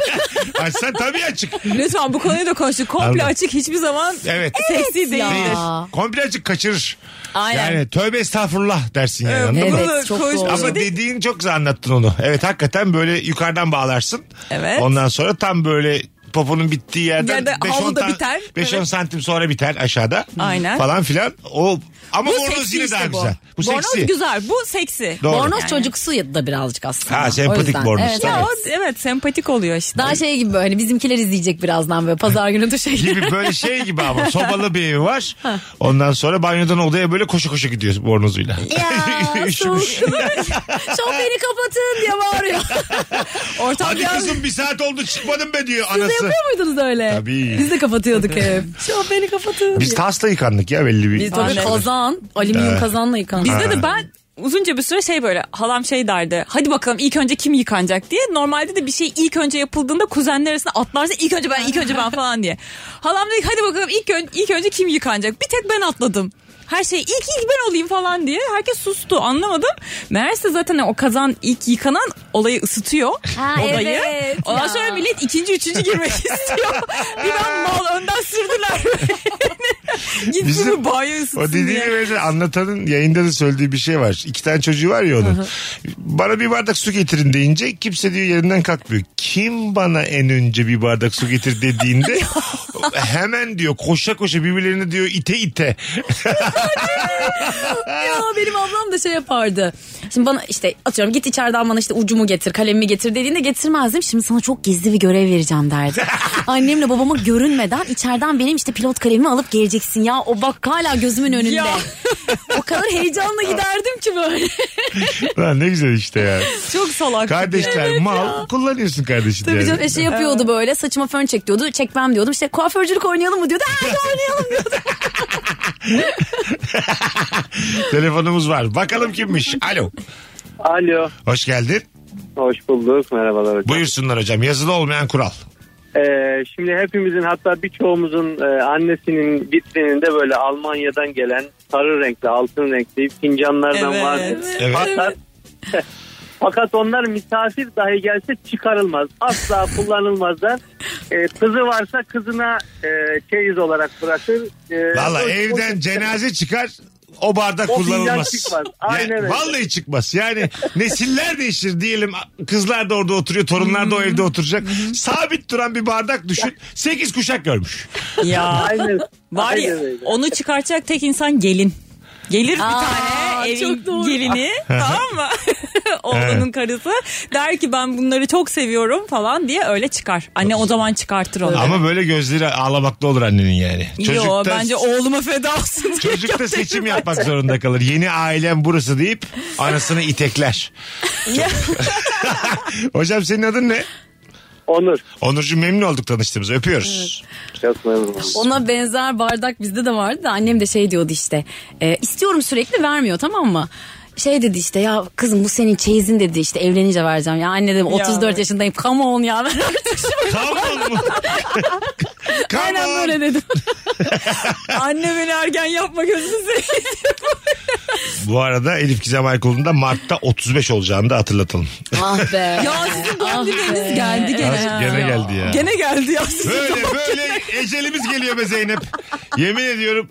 Açsan tabii açık. Lütfen bu konuyu da konuştuk. Komple Anladım. açık hiçbir zaman Evet. seksi ya. değildir. Aa. Komple açık kaçırır. Aynen. Yani tövbe estağfurullah dersin yani. Evet, anladın mı? bunu da Evet, çok konuştuk. doğru. Ama dediğin çok güzel anlattın onu. Evet hakikaten böyle yukarıdan bağlarsın. Evet. Ondan sonra tam böyle poponun bittiği yerden Yerde 5-10 havlu da tan- biter. 5-10 Evet. santim sonra biter aşağıda. Aynen. Falan filan. O ama Bu bornoz seksi yine işte daha bu. güzel. Bu bornoz seksi. güzel. Bu seksi. Doğru. Bornoz çocuksu ya da birazcık aslında. Ha, sempatik O yüzden. bornoz, Ya Evet. o evet sempatik oluyor işte. Daha şey gibi böyle hani bizimkiler izleyecek birazdan böyle pazar günü de şey. gibi böyle şey gibi ama sobalı bir evi var. Ondan sonra banyodan odaya böyle koşu koşu gidiyor bornozuyla. ya soğuk. Üşümüş. Çok beni kapatın diye bağırıyor. Ortam Hadi biraz kızım bir saat oldu çıkmadım be diyor Siz de anası. yapıyor muydunuz öyle? Tabii. Biz de kapatıyorduk hep. Çok beni kapatın. Biz tasla yıkandık ya belli bir. Biz tabii Aynen. kazan, alüminyum kazanla yıkandık. Bizde de ben uzunca bir süre şey böyle halam şey derdi. Hadi bakalım ilk önce kim yıkanacak diye. Normalde de bir şey ilk önce yapıldığında kuzenler arasında atlarsa ilk önce ben ilk önce ben falan diye. Halam dedi ki, hadi bakalım ilk, ön- ilk önce kim yıkanacak. Bir tek ben atladım. Her şey ilk ilk ben olayım falan diye. Herkes sustu anlamadım. Meğerse zaten o kazan ilk yıkanan olayı ısıtıyor. Ha, odayı. evet Ondan ya. sonra millet ikinci üçüncü girmek istiyor. bir ben mal önden sürdüler. Gitsin Bizim- mi banyo ısıtsın O dediğine diye. benzer anlatanın yayında da söylediği bir şey var. İki tane çocuğu var ya onun. Bana bir bardak su getirin deyince kimse diyor yerinden kalkmıyor. Kim bana en önce bir bardak su getir dediğinde hemen diyor koşa koşa birbirlerini diyor ite ite. Ya benim ablam da şey yapardı. Şimdi bana işte atıyorum git içeriden bana işte ucumu getir, kalemimi getir dediğinde getirmezdim. Şimdi sana çok gizli bir görev vereceğim derdi. Annemle babama görünmeden içeriden benim işte pilot kalemimi alıp geleceksin ya. O bak hala gözümün önünde. Ya. o kadar heyecanla giderdim ki böyle. Lan ne güzel işte ya. Çok salak. Kardeşler mal kullanıyorsun kardeşin Tabii yani. canım eşi şey yapıyordu böyle saçıma fön çek diyordu. Çekmem diyordum. İşte kuaförcülük oynayalım mı diyordu. Ha oynayalım diyordu. Telefonumuz var. Bakalım kimmiş. Alo. Alo. Hoş geldin. Hoş bulduk. Merhabalar hocam. Buyursunlar hocam. Yazılı olmayan kural. Ee, şimdi hepimizin hatta birçoğumuzun e, annesinin vitrininde böyle Almanya'dan gelen sarı renkli, altın renkli fincanlardan Evet. vardır. Evet. Fakat, fakat onlar misafir dahi gelse çıkarılmaz. Asla kullanılmazlar. Ee, kızı varsa kızına e, çeyiz olarak bırakır. Ee, Valla o- evden o- cenaze çıkar o bardak O kullanılmaz. fincan çıkmaz. Aynen Yani öyle. Vallahi çıkmaz. Yani nesiller değişir diyelim. Kızlar da orada oturuyor, torunlar da o Hmm. evde oturacak. Sabit duran bir bardak düşün. 8 kuşak görmüş. Ya. Aynen. Var ya Aynen öyle. onu çıkartacak tek insan gelin. Gelir bir Aa, tane evin çok doğru. gelini Ah. tamam mı? Oğlunun karısı der ki ben bunları çok seviyorum falan diye öyle çıkar. Anne o zaman çıkartır onu. Ama böyle gözleri ağlamakta olur annenin yani. Yo bence oğluma feda olsun. diye Çocuk da gönderirim seçim ben. yapmak zorunda kalır. Yeni ailem burası deyip anasını itekler. Ya. Hocam senin adın ne? Onur. Onurcuğum memnun olduk tanıştığımıza. Öpüyoruz. Çok memnunum. Ona benzer bardak bizde de vardı da annem de şey diyordu işte. e, istiyorum sürekli vermiyor tamam mı? Şey dedi işte ya kızım bu senin çeyizin dedi işte evlenince vereceğim. Ya anne dedim 34 Ya. yaşındayım come on ya. ver artık şunu." Come on mu? Come Aynen on. böyle dedim. Anne beni ergen yapma gözünü seveyim. Bu arada Elif Gizem Aykulu'nda Mart'ta 35 olacağını da hatırlatalım. ah be. Ya sizin doğum Ah günleriniz be. geldi gene. Nasıl gene geldi ya. Gene geldi ya. sizin Böyle doğum böyle ecelimiz geliyor be Zeynep. Yemin ediyorum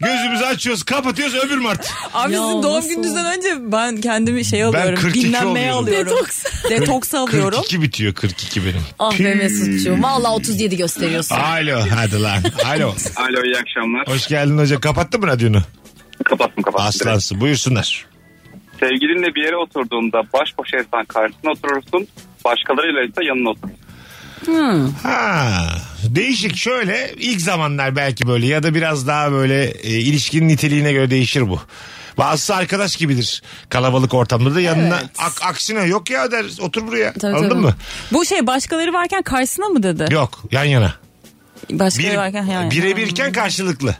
gözümüzü açıyoruz kapatıyoruz öbür Mart. Abi Ya sizin doğum nasıl? gününüzden önce ben kendimi şey alıyorum. 42 dinlenmeye oluyorum. alıyorum. Detoks. Detoks alıyorum. 42 bitiyor 42 benim. Ah be Mesut'cuğum. Valla 37 gösteriyorsun. Alo hadi lan. Alo. Alo iyi akşamlar. Hoş geldin hoca. Kapattın mı radyonu? Kapattım kapattım. direkt. Aslansın buyursunlar. Sevgilinle bir yere oturduğunda baş başa insan karşısına oturursun. Başkalarıyla ise yanına oturursun. Ha Değişik şöyle ilk zamanlar belki böyle ya da biraz daha böyle e, ilişkinin niteliğine göre değişir bu. Bazısı arkadaş gibidir kalabalık ortamda da yanına Evet. ak- aksine yok ya der otur buraya Tabii, anladın tabii. mı? Bu şey başkaları varken karşısına mı dedi? Yok yan yana. Başkaları Bir, varken yani. birebirken karşılıklı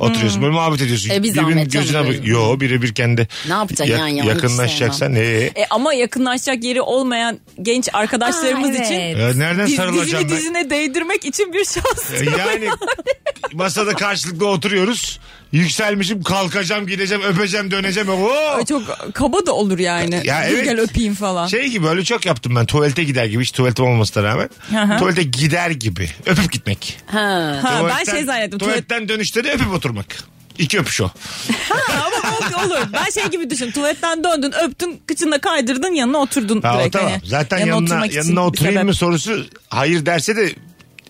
oturuyorsun böyle muhabbet ediyorsun. Hmm. E, bir Birbirinin zahmet canım gözüne benim. bak- Yo birebirken de Ne yapacaksın yan yana, hiç yakınlaşacaksan. ee? E, ama yakınlaşacak yeri olmayan genç arkadaşlarımız Aa, Ah, evet. için Ya Ee, nereden diz, sarılacağım dizini ben? E, dizine değdirmek için bir şans. Yani masada karşılıklı oturuyoruz. Yükselmişim kalkacağım gideceğim öpeceğim döneceğim. Oo! Ay, Çok kaba da olur yani. Ya Dur evet. gel öpeyim falan. Şey gibi öyle çok yaptım ben tuvalete gider gibi hiç tuvaletim olmamasına rağmen. Hı hı. Tuvalete gider gibi öpüp gitmek. Ha. ha, ben Tuvaletten- şey zannettim. Tuvalet... Tuvaletten dönüşte de öpüp oturmak. İki öpüş o. Ha, ama o- olur. Ben şey gibi düşün. Tuvaletten döndün, öptün, kıçında kaydırdın, yanına oturdun Ha, o direkt. tamam. hani. Zaten Yanına yanına, oturmak yanına, için bir oturayım sebep. mı sorusu hayır derse de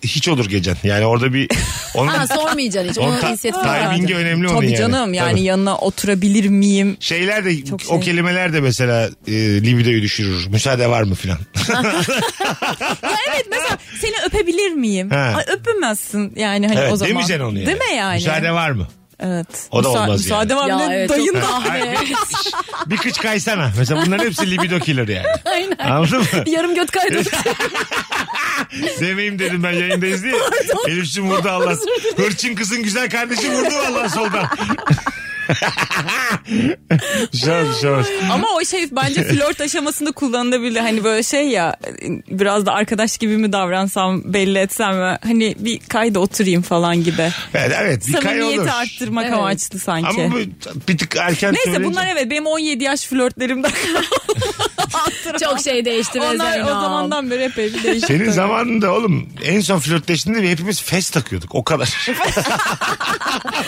hiç olur gecen. Yani orada bir onun Ha sormayacaksın hiç. Onun Onu ta- inisiyatif alacaksın. timingi şey önemli onun Tabii yani. canım yani Tabii. yanına oturabilir miyim? Şeyler de Çok o şey. kelimeler de mesela e, libidoyu düşürür. Müsaade var mı filan. Ya evet mesela seni öpebilir miyim? He. Ay, öpemezsin yani hani evet, o zaman. demeyeceksin onu yani. Değil mi yani? Müsaade var mı? Evet. O da olmaz yani. Müsaade var mı? Ya Ne evet, dayın çok- da. Hayır, bir, bir kıç kaysana. Mesela bunların hepsi libido killer yani. Aynen. Anladın mı? Yarım göt kaydı. Demeyeyim dedim ben yayındayız diye. Elif'cim vurdu Allah. Hırçın kızın güzel kardeşi vurdu vallahi soldan. Bir şey olmaz, bir şey olmaz. Ama o şey bence flört aşamasında kullanılabilir. Hani böyle şey ya biraz da arkadaş gibi mi davransam belli etsem mi? Hani bir kayda oturayım falan gibi. Evet, evet bir kay olur. Samimiyeti arttırmak Evet. amaçlı sanki. Ama bu bir tık erken Neyse söyleyince- bunlar evet benim 17 yaş flörtlerimden Çok şey değişti. be Onlar o Zeynep. zamandan beri epey bir değişti. Senin zamanında oğlum en son flörtleştiğinde bir hepimiz fes takıyorduk o kadar.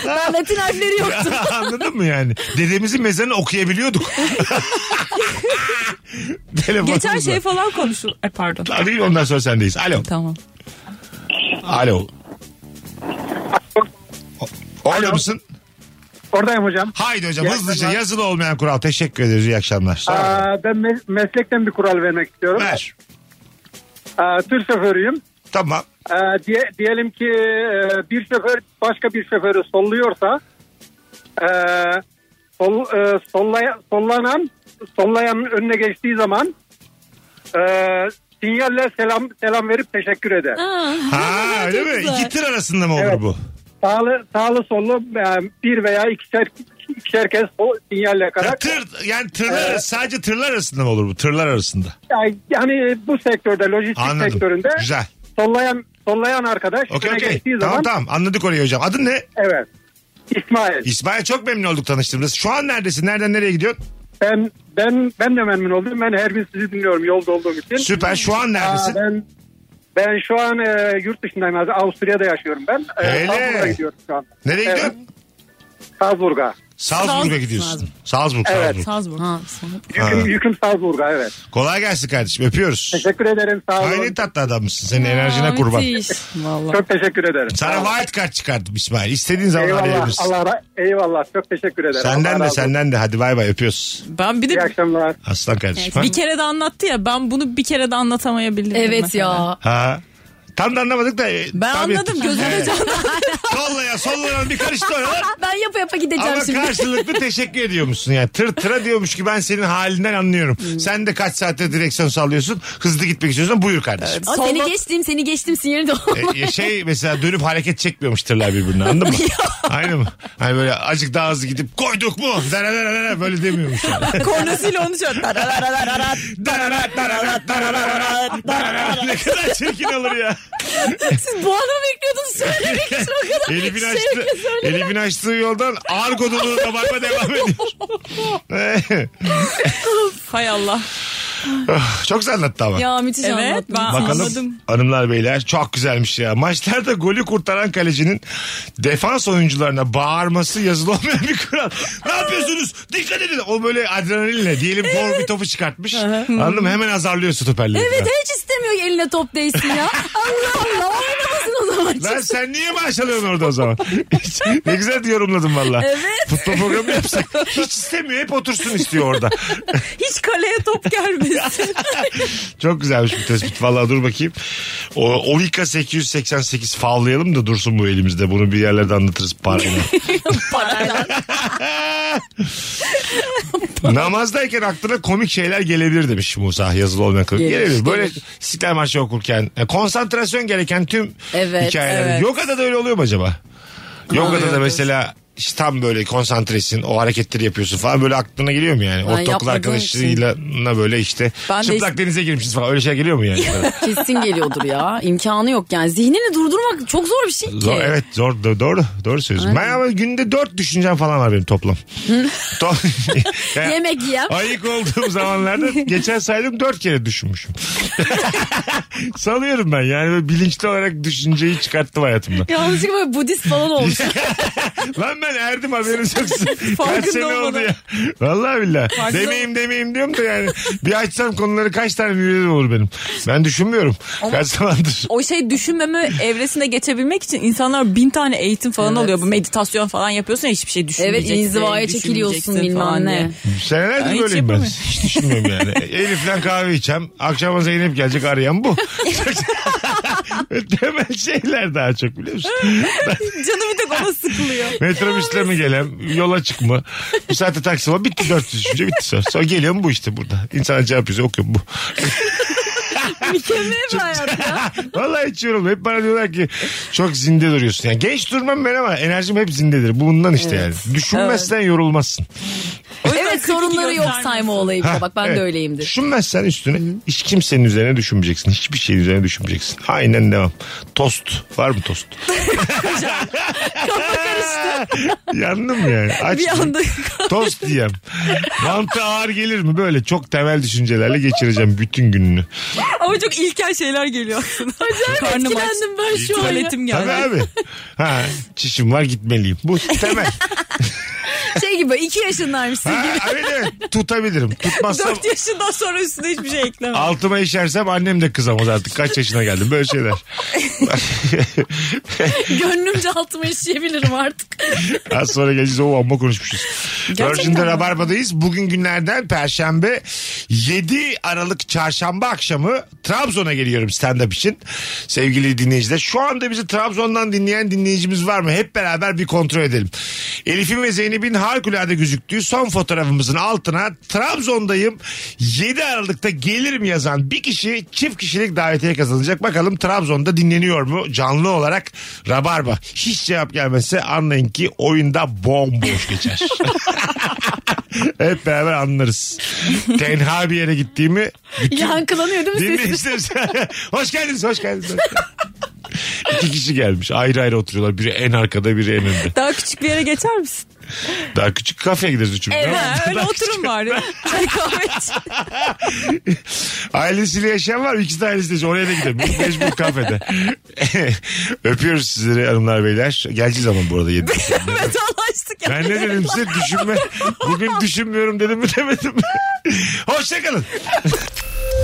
Ben Latin harfleri yok. Anladın mı yani? Dedemizin mezarını okuyabiliyorduk. Geçen Telefonumuzla. şey falan konuşul. E, pardon. Arayın ondan sonra sendeyiz. Alo. Tamam. Alo. O- Orada mısın? Oradayım hocam. Haydi hocam İyi hızlıca akşamlar. yazılı olmayan kural. Teşekkür ederiz. İyi akşamlar. Sağ olun. Aa, ben me- meslekten bir kural vermek istiyorum. Ver. Aa, tır şoförüyüm. Tamam. Ee, diye- diyelim ki e, bir şoför başka bir şoförü solluyorsa e, sol, e, sollaya- sollanan sollayanın önüne geçtiği zaman e, sinyalle selam selam verip teşekkür eder. Ha öyle mi? güzel. İki tır arasında mı olur Evet. bu? Sağlı sağlı sollu e, bir veya ikişer ikişer kez o sinyalle Ya yakarak tır yani tırlar sadece tırlar arasında mı olur bu? Tırlar arasında. yani, yani bu sektörde lojistik Anladım. sektöründe Güzel. sollayan sollayan arkadaş Okey önüne okey. geçtiği Tamam zaman tamam anladık orayı hocam. Adın ne? evet. İsmail İsmail çok memnun olduk tanıştığımız. Şu an neredesin? Nereden nereye gidiyorsun? Ben ben ben de memnun oldum. Ben her gün sizi dinliyorum yolda olduğum için. Süper. Şu an Aa, neredesin? ben ben şu an e, yurt dışındayım. Avusturya'da yaşıyorum ben. E, Öyle. Salzburg'a gidiyorum şu an. Nereye Evet, gidiyorsun? Salzburg'a. Salzburg'a gidiyorsun. Salzburg, Evet. Salzburg. Salzburg. Ha, sonra- Yüküm, Ha. yüküm Salzburg'a evet. Kolay gelsin kardeşim. Öpüyoruz. Teşekkür ederim. Sağ olun. Hayli tatlı adammışsın. Senin enerjine Aa, kurban. müthiş. Vallahi. Çok teşekkür ederim. Sağ olun. Sana wild card çıkardım İsmail. İstediğin zaman Eyvallah. arayabilirsin. Allah, ra- eyvallah. Çok teşekkür ederim. Senden Allah de razı olsun. senden de. Hadi bay bay öpüyoruz. Ben bir İyi de akşamlar. Aslan kardeşim. Ha? bir kere de anlattı ya ben bunu bir kere de anlatamayabilirim. Evet mesela. ya. Ha. Tam da anlamadık da. e, Ben tahmin anladım ettik. gözümde Evet. canlandı. Sollaya sollaya bir karıştı oralar. Ben yapa yapa gideceğim Ama şimdi. karşılıklı teşekkür ediyormuşsun yani. Tır tıra diyormuş ki ben senin halinden anlıyorum. Hmm. Sen de kaç saatte direksiyon sallıyorsun. Hızlı gitmek istiyorsan buyur kardeşim. Aa, Solda- seni geçtim seni geçtim sinyali de E, ya şey mesela dönüp hareket çekmiyormuş tırlar birbirine anladın mı? Aynı mı? Hani böyle azıcık daha hızlı gidip koyduk mu? Dara dara dara böyle demiyormuş. yani. Kornasıyla onu şöyle. tararararararat. Darara, darara, darara, darara. ne kadar çirkin olur ya. Siz bu anı bekliyordunuz söylemek için o kadar Elif'in şey açtı, ki söyle. Elif'in açtığı yoldan argo dolabına bakma devam ediyor. Hay Allah. Çok anlattı ama. Ya müthiş Evet, anlattın. ben- Bakalım Anladım. hanımlar beyler çok güzelmiş ya. Maçlarda golü kurtaran kalecinin defans oyuncularına bağırması yazılı olmayan bir kural. ne yapıyorsunuz? Dikkat edin. O böyle adrenalinle diyelim gol bir topu çıkartmış. Anladın mı? Hemen azarlıyor stoperleri. Evet hiç istemiyor eline top değsin ya. Allah Allah oynamasın Çıksın o zaman. Lan sen niye maaş alıyorsun orada o zaman? Hiç- ne güzel yorumladım valla. Evet. Futbol programı yapsak hiç istemiyor hep otursun istiyor orada. Hiç kaleye top gelmesin. Çok güzelmiş bu tespit valla dur bakayım. O, Ovika 888 favlayalım da dursun bu elimizde bunu bir yerlerde anlatırız parayla. Parayla. Namazdayken aklına komik şeyler gelebilir demiş Musa yazılı olmayan kılık. Gelir, Gelebilir. Böyle İstiklal Marşı okurken e, konsantrasyon gereken tüm Evet, hikayeler. evet. Yoga'da da öyle oluyor mu acaba? Yoga'da da Oluyordur. mesela işte tam böyle konsantresin o hareketleri yapıyorsun falan böyle aklına geliyor mu yani? Ortaokul yapmadığım arkadaşıyla böyle işte Ben de çıplak hiç- denize girmişiz falan öyle şey geliyor mu yani? Kesin geliyordur ya. İmkanı yok yani. Zihnini durdurmak çok zor bir şey ki. Zor, evet zor do- doğru doğru söylüyorsun. Ben ama günde dört düşüncem falan var benim toplam. To- Yani Yemek yiyem. Ayık olduğum zamanlarda geçen saydım dört kere düşünmüşüm. Salıyorum ben yani böyle bilinçli olarak düşünceyi çıkarttım hayatımdan. Yanlışlıkla böyle Budist falan olmuş. Lan ben erdim haberiniz yoksa. Kaç Farkında sene oldu olmadan. ya. Vallahi billahi. Farkında Demeyeyim demeyeyim diyorum da yani. Bir açsam konuları kaç tane müdürüm olur benim. Ben düşünmüyorum. Kaç zamandır. o şey düşünmeme evresine geçebilmek için insanlar bin tane eğitim falan Evet. alıyor. Bu meditasyon falan yapıyorsun ya hiçbir şey evet düşünmeyeceksin. inzivaya düşünmeyeceksin çekiliyorsun falan bilmem diye. ne. Senelerdir Ay, hiç böyleyim ben. yapamıyorum. Hiç düşünmüyorum yani. Elif'le kahve içeceğim. Akşama Zeynep gelecek arayan bu. Temel şeyler daha çok biliyor musun? Canı bir tek ona sıkılıyor. Metrobüsle mi gelem? Yola çık mı? Bu saatte taksi var. Bitti dört düşünce bitti sonra. Sonra geliyor mu bu işte burada. İnsana cevap yazıyor okuyorum bu. Mükemmel bir hayat. Vallahi içiyorum. Hep bana diyorlar ki çok zinde duruyorsun. Yani genç durmam ben ama enerjim hep zindedir. Bundan işte yani. Düşünmezsen yorulmazsın. Evet sorunları yok sayma olayı. bir de. Bak ben Evet. de öyleyimdir. Düşünmezsen üstüne hiç kimsenin üzerine düşünmeyeceksin. Hiçbir şeyin üzerine düşünmeyeceksin. Aynen devam. Tost. Var mı tost? Yandım mı yani? Aç mı? Bir anda Tost diyem. Mantı ağır gelir mi? Böyle çok temel düşüncelerle geçireceğim bütün gününü. ama çok ilkel şeyler geliyor aslında. Karnım aç. etkilendim ben şu an ya. Tuvaletim geldi. Tabii abi. Ha, çişim var gitmeliyim. Bu temel. Şey gibi iki yaşındaymış. Ha, evet evet tutabilirim. Tutmazsam 4 yaşından sonra üstüne hiçbir şey ekleme. altıma işersem annem de kızamaz artık. Kaç yaşına geldim böyle şeyler. Gönlümce altıma işleyebilirim artık. Az sonra geleceğiz o amma konuşmuşuz. Virgin'de Rabarba'dayız. Bugün günlerden Perşembe 7 Aralık Çarşamba akşamı Trabzon'a geliyorum stand-up için. Sevgili dinleyiciler şu anda bizi Trabzon'dan dinleyen dinleyicimiz var mı? Hep beraber bir kontrol edelim. Elif'in ve Zeynep'in harikulade gözüktüğü son fotoğrafımızın altına Trabzon'dayım 7 Aralık'ta gelirim yazan bir kişi çift kişilik davetiye kazanacak. Bakalım Trabzon'da dinleniyor mu canlı olarak Rabarba. Hiç cevap gelmezse anlayın ki oyunda bomboş geçer. Hep beraber anlarız. Tenha bir yere gittiğimi Yankılanıyor değil mi sesim? dinleyicilerimiz. hoş geldiniz, hoş geldiniz. İki kişi gelmiş. Ayrı ayrı oturuyorlar. Biri en arkada, biri en önde. Daha küçük bir yere geçer misin? Daha küçük kafeye gideriz üçümüz. Evet. Daha- öyle daha oturun bari. Çay kahve iç. Ailesiyle yaşayan var mı? İkisi de ailesiyle. Oraya da gidemiyor. Mecbur kafede. Öpüyoruz sizleri hanımlar beyler. Geleceğiz ama bu arada yedi. Vedalaştık ya. Ben ne dedim size düşünme. Bugün düşünmüyorum dedim mi demedim mi? Hoşçakalın.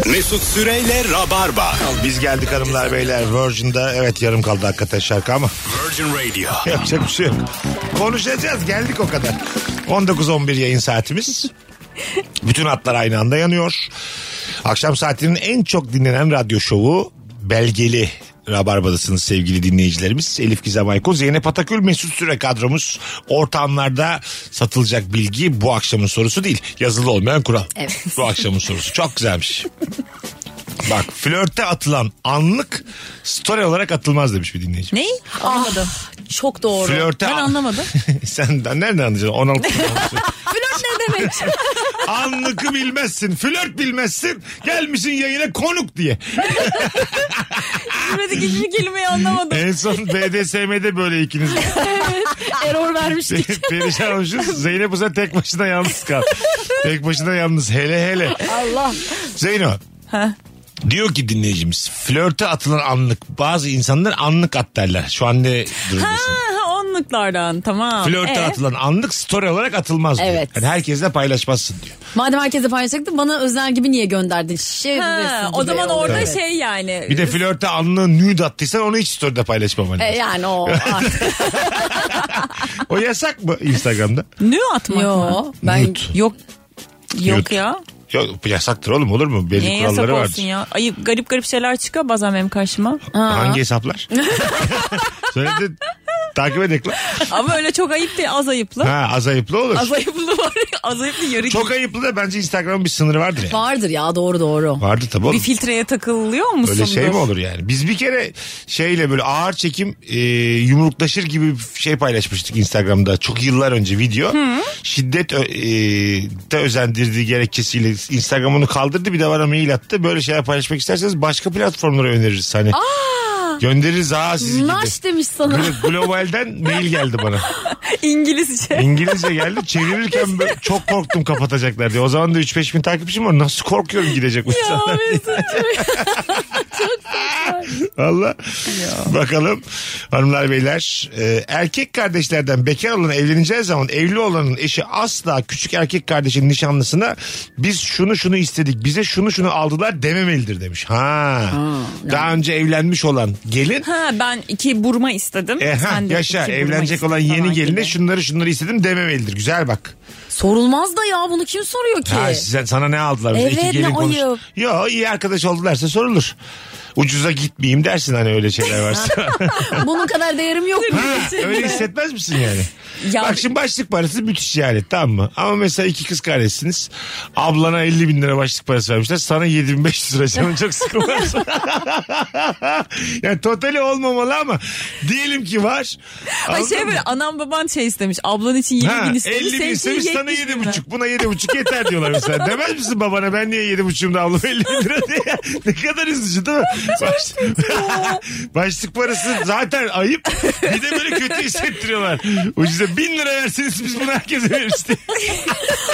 Mesut Süreyle Rabarba. Biz geldik hanımlar beyler. Virgin'da evet yarım kaldı hakikaten şarkı ama Virgin Radio. yapacak bir şey yok. Konuşacağız geldik o kadar. 19-11 yayın saatimiz. Bütün hatlar aynı anda yanıyor. Akşam saatinin en çok dinlenen radyo şovu belgeli Rabarba'dasınız sevgili dinleyicilerimiz. Elif Gizem Aykul, Zeynep Atakül, Mesut Süre kadromuz. Ortamlarda satılacak bilgi bu akşamın sorusu değil. Yazılı olmayan kural. Evet. Bu akşamın sorusu. Çok güzelmiş. Bak flörte atılan anlık story olarak atılmaz demiş bir dinleyici. Ne? Anlamadım. Çok doğru. Ah, Flörte Ah. Ben anlamadım. Sen de- nereden anlayacaksın? 16 Flört ne demek? Anlıkı bilmezsin. Flört bilmezsin. Gelmişsin yayına konuk diye. Bilmedik hiçbir kelimeyi anlamadım. En son BDSM'de böyle ikiniz Error vermiştik. pe- perişan olmuşsunuz. Zeynep Uza tek başına yalnız kal. Tek başına yalnız hele hele. Allah. Zeyno. Diyor ki dinleyicimiz flörte atılan anlık bazı insanlar anlık at derler. Şu an ne durumdasın? Ha, anlıklardan Ah, tamam. Flörte Ee? atılan anlık story olarak atılmaz diyor. Evet. Yani herkesle paylaşmazsın diyor. Madem herkese paylaşacaktın bana özel gibi niye gönderdin? Şey Ha, o zaman orada şey yani. Bir de flörte anlığı nude attıysan onu hiç story'de hani. paylaşmaman E, lazım. yani o. O yasak mı Instagram'da? Nü atmak mı? Yo ben Nude. Yok. Yok Nude. ya. Yok yasaktır oğlum olur mu? Belli Niye yasak kuralları vardır. olsun ya? Ayıp garip garip şeyler çıkıyor bazen benim karşıma. Hangi hesaplar? Söyledi takip edek lan. Ama öyle çok ayıp değil az ayıplı. Ha az ayıplı olur. Az ayıplı var ya, az ayıplı yarı Çok ayıplı da bence Instagram'ın bir sınırı vardır yani. vardır ya doğru doğru. Vardı tabii Bir oğlum. filtreye takılıyor musun? Öyle şey mi olur yani? Biz bir kere şeyle böyle ağır çekim e, yumruklaşır gibi bir şey paylaşmıştık Instagram'da. Çok yıllar önce video. Şiddet ö- e, de özendirdiği gerekçesiyle Instagram onu kaldırdı. Bir de bana mail attı. Böyle şeyler paylaşmak isterseniz başka platformlara öneririz. Hani göndeririz ha sizi gibi. Naş demiş sana. Glo- Globalden mail geldi bana. İngilizce. İngilizce geldi. Çevirirken böyle çok korktum kapatacaklar diye. O zaman da 3-5 bin takipçim var. Nasıl korkuyorum gidecek bu insanlar. Valla. Bakalım hanımlar beyler. e, erkek kardeşlerden bekar olan evleneceği zaman evli olanın eşi asla küçük erkek kardeşin nişanlısına biz şunu şunu istedik bize şunu şunu aldılar dememelidir demiş. Ha. Daha önce evlenmiş olan gelin Ha ben iki burma istedim. e, ha, Sen de yaşa iki burma evlenecek istedin olan falan yeni geline gibi. şunları şunları istedim dememelidir. Güzel bak. Sorulmaz da ya bunu kim soruyor ki? Ha, size, sana ne aldılar? Biz Evet, İki gelin ne konuş. ayıp. Yo iyi arkadaş oldularsa sorulur. Ucuza gitmeyeyim dersin hani öyle şeyler varsa. Bunun kadar değerim yok. mu? Ha, öyle hissetmez misin yani? Ya- Bak şimdi başlık parası müthiş yani tamam mı? Ama mesela iki kız kardeşsiniz. Ablana 50 bin lira başlık parası vermişler. Sana 7500 lira canım çok sıkılmaz. yani totali olmamalı ama diyelim ki var. Ay Anladın şey mı? böyle anam baban şey istemiş. Ablan için 20 Ha, bin istemiş. 50 bin senin için istemiş sana 70 bin yedi lira. buçuk. Buna yedi buçuk yeter diyorlar mesela. Demez misin babana ben niye yedi buçuğumda ablam 50 bin lira diye. ne kadar üzücü değil mi? Baş- Başlık parası zaten ayıp. Bir de böyle kötü hissettiriyorlar. Ucuza bin lira verseniz biz bunu herkese veririz diye.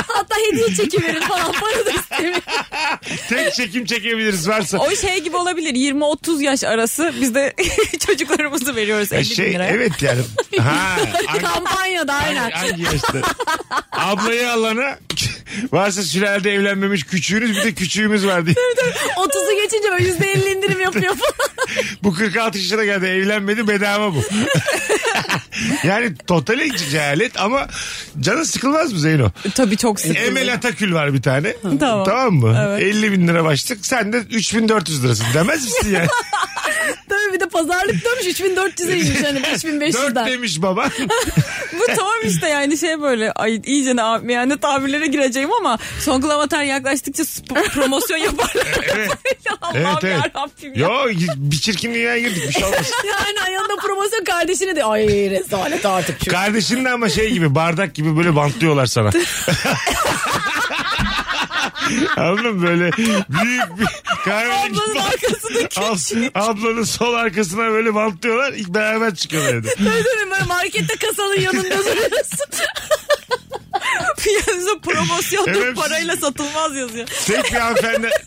Hatta hediye çeki verin falan para da istemiyor. Tek çekim çekebiliriz varsa. O şey gibi olabilir. 20-30 yaş arası biz de çocuklarımızı veriyoruz 50 E bin şey liraya. evet yani. Ha, hangi- Kampanyada aynen. hangi, hangi yaşta? Ablayı alana varsa sülalede evlenmemiş küçüğünüz bir de küçüğümüz var diye. 30'u geçince böyle %50 indirim yapıyor falan. Bu 46 yaşına geldi evlenmedi bedava bu. yani totali cehalet ama canın sıkılmaz mı Zeyno? Tabii çok sıkıntı. Emel Atakül var bir tane. Tamam. mı? 50 bin lira başlık sen de 3400 lirasın demez misin yani? Tabii bir de pazarlık dönmüş 3400'e inmiş hani 4 5500'den. demiş baba. Bu tamam işte yani şey böyle ay iyice ne yap- yani tabirlere gireceğim ama son klavatan yaklaştıkça sp- promosyon yaparlar. evet. Allah'ım Evet evet. yarabbim ya. Yo bir çirkinliğe girdik bir şey olmaz. Yani ayağında promosyon kardeşini de ay rezalet artık. Çünkü. Kardeşin de ama şey gibi bardak gibi böyle bantlıyorlar sana. Anladın mı? Böyle büyük bir kahverengi Ablanın bant- arkasındaki Ab- ablanın sol arkasına böyle bantlıyorlar. İlk beraber çıkıyorlar evde. Öyle değil mi? Böyle markette kasanın yanında duruyorsun. piyanzo promosyonda Evet. parayla satılmaz yazıyor. Tek bir hanımefendi...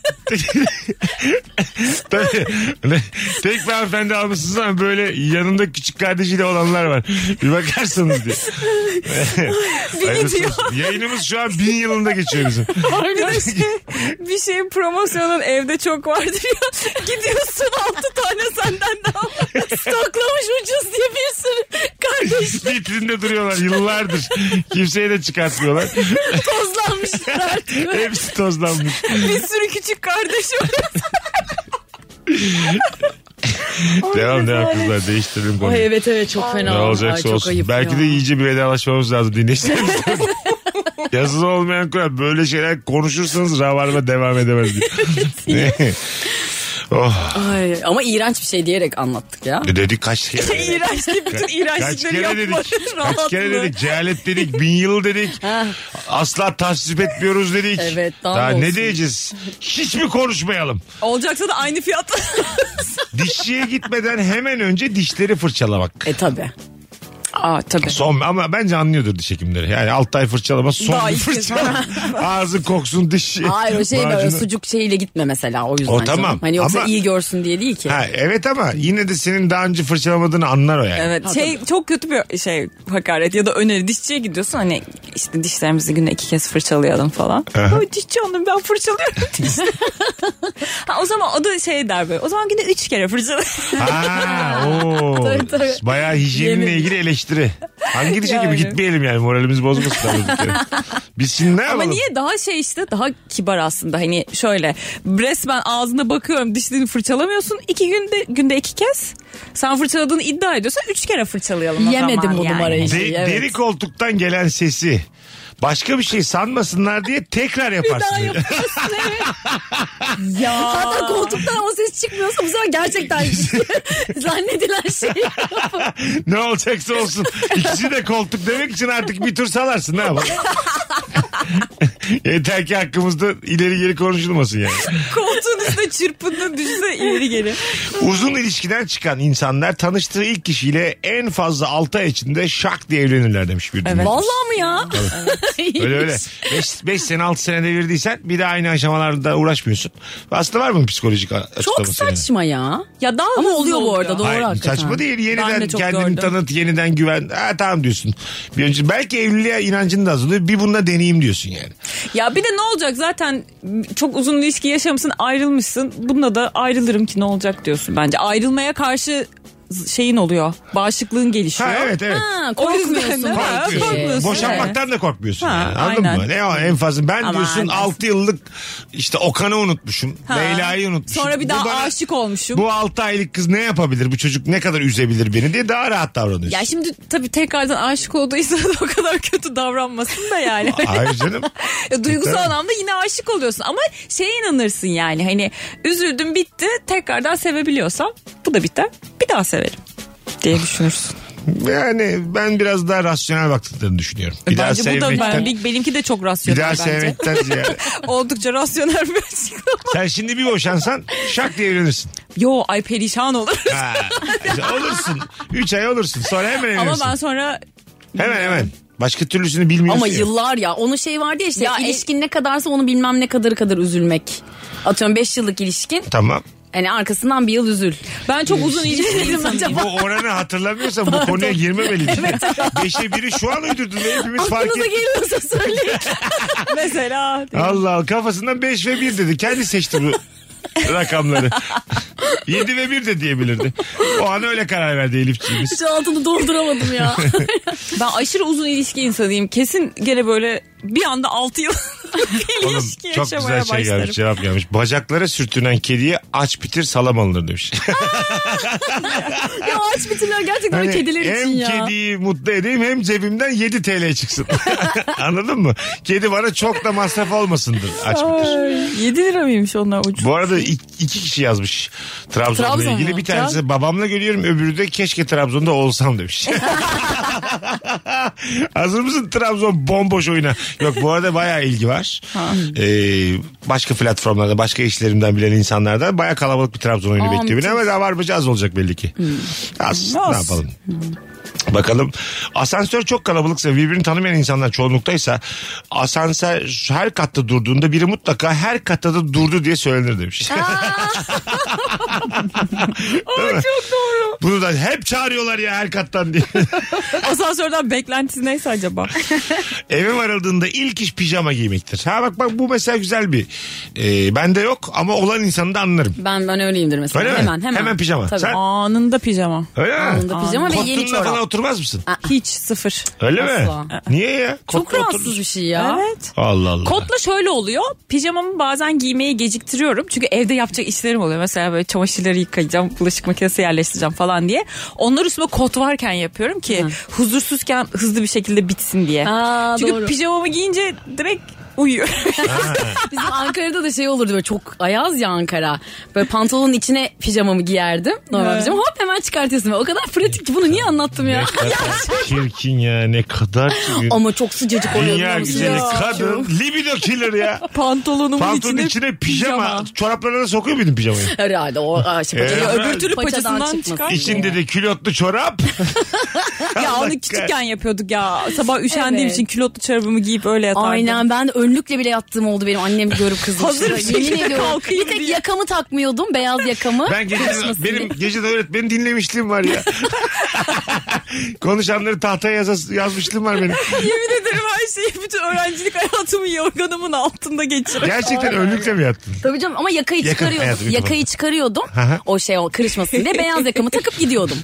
Tabii. Ne- Tek bir hanımefendi almışsınız ama böyle yanında küçük kardeşiyle olanlar var. Bir bakarsınız diye. Hayırlısı gidiyor. olsun. Yayınımız şu an bin yılında geçiyor bizim. Arkadaş şey. bir şeyin promosyonun evde çok vardır ya. Gidiyorsun altı tane senden daha var. Stoklamış ucuz diye bir sürü kardeş Vitrinde duruyorlar yıllardır. Kimseye de çıkartmıyorlar. tozlanmışlar artık. Hepsi tozlanmış. bir sürü küçük kardeşim. devam devam kızlar değiştirelim konuyu. Ay evet evet çok fena. Ne Ay, olacaksa çok olsun. ayıp Belki ya. de iyice bir vedalaşmamız lazım dinleyicilerimiz. Yazılı olmayan kural. Böyle şeyler konuşursanız ravarma devam edemez diye. Ne? oh. Ay, ama iğrenç bir şey diyerek anlattık ya. E Dedik kaç kere. İğrenç değil, bütün Kaç iğrençlikleri kere yapma. dedik? Kaç kere dedik? Cehalet dedik, bin yıl dedik. Asla tasvip etmiyoruz dedik. Ah. Evet, daha Daha ne ne olsun? diyeceğiz? Hiç mi konuşmayalım? Olacaksa da aynı fiyat. Dişçiye gitmeden hemen önce dişleri fırçalamak. E tabi. Aa tabii. Son ama bence anlıyordur diş hekimleri. Yani alt ay fırçalama son Daha bir ilk kez. fırçalama. Ağzı koksun diş. Hayır o şey böyle macunu. sucuk şeyiyle gitme mesela o yüzden. O canım. tamam, Hani yoksa ama- iyi görsün diye değil ki. Ha, evet ama yine de senin daha önce fırçalamadığını anlar o yani. Evet şey çok kötü bir şey hakaret ya da öneri dişçiye gidiyorsun hani işte dişlerimizi günde iki kez fırçalayalım falan. Ay dişçi hanım ben fırçalıyorum dişlerimi. ha, o zaman o da şey der böyle o zaman günde üç kere fırçala. Ha, oo. Tabii, tabii. Bayağı hijyeninle Yemin. ilgili eleştiri. Hangi diş hekimi Yani. gitmeyelim yani moralimiz bozmasın. tabii ki. Biz şimdi ne Ama yapalım? niye daha şey işte daha kibar aslında hani şöyle resmen ağzına bakıyorum dişlerini fırçalamıyorsun iki günde günde iki kez sen fırçaladığını iddia ediyorsan üç kere fırçalayalım o Yemedim zaman bu yani. numarayı. De- Evet. Deri koltuktan gelen sesi. Başka bir şey sanmasınlar diye tekrar yaparsın. böyle. Ya. Zaten koltuktan o ses çıkmıyorsa bu sefer gerçekten zannedilen şey. ne olacaksa olsun. İkisi de koltuk demek için artık bir tur salarsın ne yapalım. Yeter ki hakkımızda ileri geri konuşulmasın yani. Koltuğun üstüne çırpındın düşse ileri geri. Uzun ilişkiden çıkan insanlar tanıştığı ilk kişiyle en fazla 6 ay içinde şak diye evlenirler demiş bir dinleyicimiz. Vallahi mi ya? Öyle öyle. 5 sene 6 senede verdiysen bir de aynı aşamalarda uğraşmıyorsun. Aslında var mı psikolojik a- Çok açıklaması? yani? saçma ya. Ya daha Ama hızlı oluyor bu arada doğru Hayır, hakikaten. saçma değil. Yeniden Ben de çok kendini gördüm. tanıt, yeniden güven. Ha, tamam diyorsun. Bir önce, belki evliliğe inancın da azalıyor. Bir bununla deneyeyim diyorsun yani. Ya bir de ne olacak zaten çok uzun ilişki yaşamışsın ayrılmışsın. Bununla da ayrılırım ki ne olacak diyorsun bence. Ayrılmaya karşı z- şeyin oluyor. Bağışıklığın gelişiyor. Ha evet evet. Ha, O yüzden de- korkmuyorsun. Ha, Korkmuyorsun. korkmuyorsun. Boşanmaktan da korkmuyorsun. Ha, yani. Anladın aynen. mı? Ne o en fazla ben Aman diyorsun dersin. 6 yıllık işte Okan'ı unutmuşum. Ha. Leyla'yı unutmuşum. Sonra bir Bu daha bana- aşık olmuşum. Bu 6 aylık kız ne yapabilir? Bu çocuk ne kadar üzebilir beni diye daha rahat davranıyorsun. Ya şimdi tabii tekrardan aşık olduysa da o kadar kötü davranmasın da yani. Hayır canım. Ya Duygusal Tabii. anlamda yine aşık oluyorsun ama şeye inanırsın yani hani üzüldüm bitti tekrardan sevebiliyorsam bu da biter bir daha severim diye düşünürsün. Yani ben biraz daha rasyonel baktıklarını düşünüyorum. Bir daha bence bu da sevmekten. ben, benimki de çok Bir rasyonel daha bence. sevmekten ziyade. Oldukça rasyonel bir açıklama. Sen şimdi bir boşansan şak diye evlenirsin. Yo ay perişan olur. Ha. İşte olursun. 3 ay olursun. Sonra hemen Ama evlenirsin. ben sonra Hemen hemen. Başka türlüsünü bilmiyorsun. Ama ya. yıllar ya. Onun şey vardı ya işte Ya, e- ilişkin ne kadarsa onu bilmem ne kadarı kadar üzülmek. Atıyorum 5 yıllık ilişkin. Tamam. Hani arkasından bir yıl üzül. ben çok uzun ilişkili insanım. Bu oranı hatırlamıyorsan bu konuya girmemeliydin. Beşe biri şu an uydurdun. Hepimiz fark Aklınıza ettik. geliyorsa söyleyin. Mesela. Allah Allah kafasından 5 ve 1 dedi. Kendi seçti bu rakamları. 7 ve 1 de diyebilirdi. O an öyle karar verdi Elifçiğimiz. Hiç altını dolduramadım ya. Ben aşırı uzun ilişki insanıyım. Kesin gene böyle bir anda 6 yıl bir Oğlum ilişki çok güzel yaşamaya şey başlarım. gelmiş cevap gelmiş. Bacaklara sürtünen kediye aç bitir salam alınır demiş. ya aç bitirler gerçekten Hani kediler hem için ya. kediyi mutlu edeyim hem cebimden 7 TL çıksın. Anladın mı? Kedi bana çok da masraf olmasındır aç bitir. 7 lira mıymış onlar ucuz? Bu arada ik- iki kişi yazmış Trabzon'la Trabzon mu? ilgili. Bir tanesi babamla görüyorum öbürü de keşke Trabzon'da olsam demiş. Hazır mısın Trabzon bomboş oyuna? Yok bu arada bayağı ilgi var. Ee, başka platformlarda başka işlerimden bilen insanlardan bayağı kalabalık bir Trabzon oyunu bekliyor beni ama davarbacı az olacak belli ki. Hmm. Az, ne Az. yapalım? Bakalım asansör çok kalabalıksa birbirini tanımayan insanlar çoğunluktaysa asansör her katta durduğunda biri mutlaka her katta da durdu diye söylenir demiş. Değil mi? Çok doğru. Bunu da hep çağırıyorlar ya her kattan diye. Asansörden beklentisi neyse acaba? Eve varıldığında ilk iş pijama giymektir. Ha bak bak bu mesela güzel bir. E, bende yok ama olan insanı da anlarım. Ben ben öyleyimdir mesela. Öyle mi? hemen, hemen. Hemen pijama. Tabii. Sen- Anında pijama. Öyle mi? Anında pijama ve yeni Kottunla çorap. falan oturmaz mısın? Hiç sıfır. Öyle mi? Asla. Niye ya? Çok Kotla rahatsız oturursun. bir şey ya. Evet. Allah Allah. Kotla şöyle oluyor. Pijamamı bazen giymeyi geciktiriyorum. Çünkü evde yapacak işlerim oluyor. Mesela böyle çamaşırları yıkayacağım, bulaşık makinesi yerleştireceğim falan diye. Onlar üstüme kot varken yapıyorum ki huzursuzken hızlı bir şekilde bitsin diye. Aa, Çünkü doğru. pijamamı giyince direkt uyuyor. Bizim Ankara'da da şey olurdu böyle çok ayaz ya Ankara. Böyle pantolonun içine pijamamı giyerdim. Normal Evet. pijama hop hemen çıkartıyorsun. O kadar pratik ki bunu niye anlattım Ne ya? kadar çirkin ya ne kadar çirkin. Ama çok sıcacık oluyor. Dünya biliyor musun? güzeli Ya. kadın libido o killer ya? Pantolonumun Pantolonun içine, pijama. Çoraplarına da sokuyor muydun pijamayı? Herhalde o aa, şey, işte Ee, paça- öbür türlü paçasından çıkmasın çıkar. diye. İçinde de külotlu çorap. Ya Allah onu küçükken yapıyorduk ya. Sabah üşendiğim Evet. için külotlu çorabımı giyip öyle yatardım. Aynen ben de önlükle bile yattığım oldu benim annem görüp kızmıştı. Hazır bir Yemin şekilde ediyorum. kalkayım Bir tek diye. yakamı takmıyordum beyaz yakamı. Ben gece, benim gecede öğretmeni dinlemişliğim var ya. Konuşanları tahtaya yazas- yazmışlığım var benim. Yemin ederim her şeyi bütün öğrencilik hayatımı yorganımın altında geçirdim. Gerçekten önlükle mi yattın? Tabii canım ama yakayı Yakın, evet, çıkarıyordum. uyudum. yakayı çıkarıyordum. hı. o şey o kırışmasın diye beyaz yakamı takıp gidiyordum.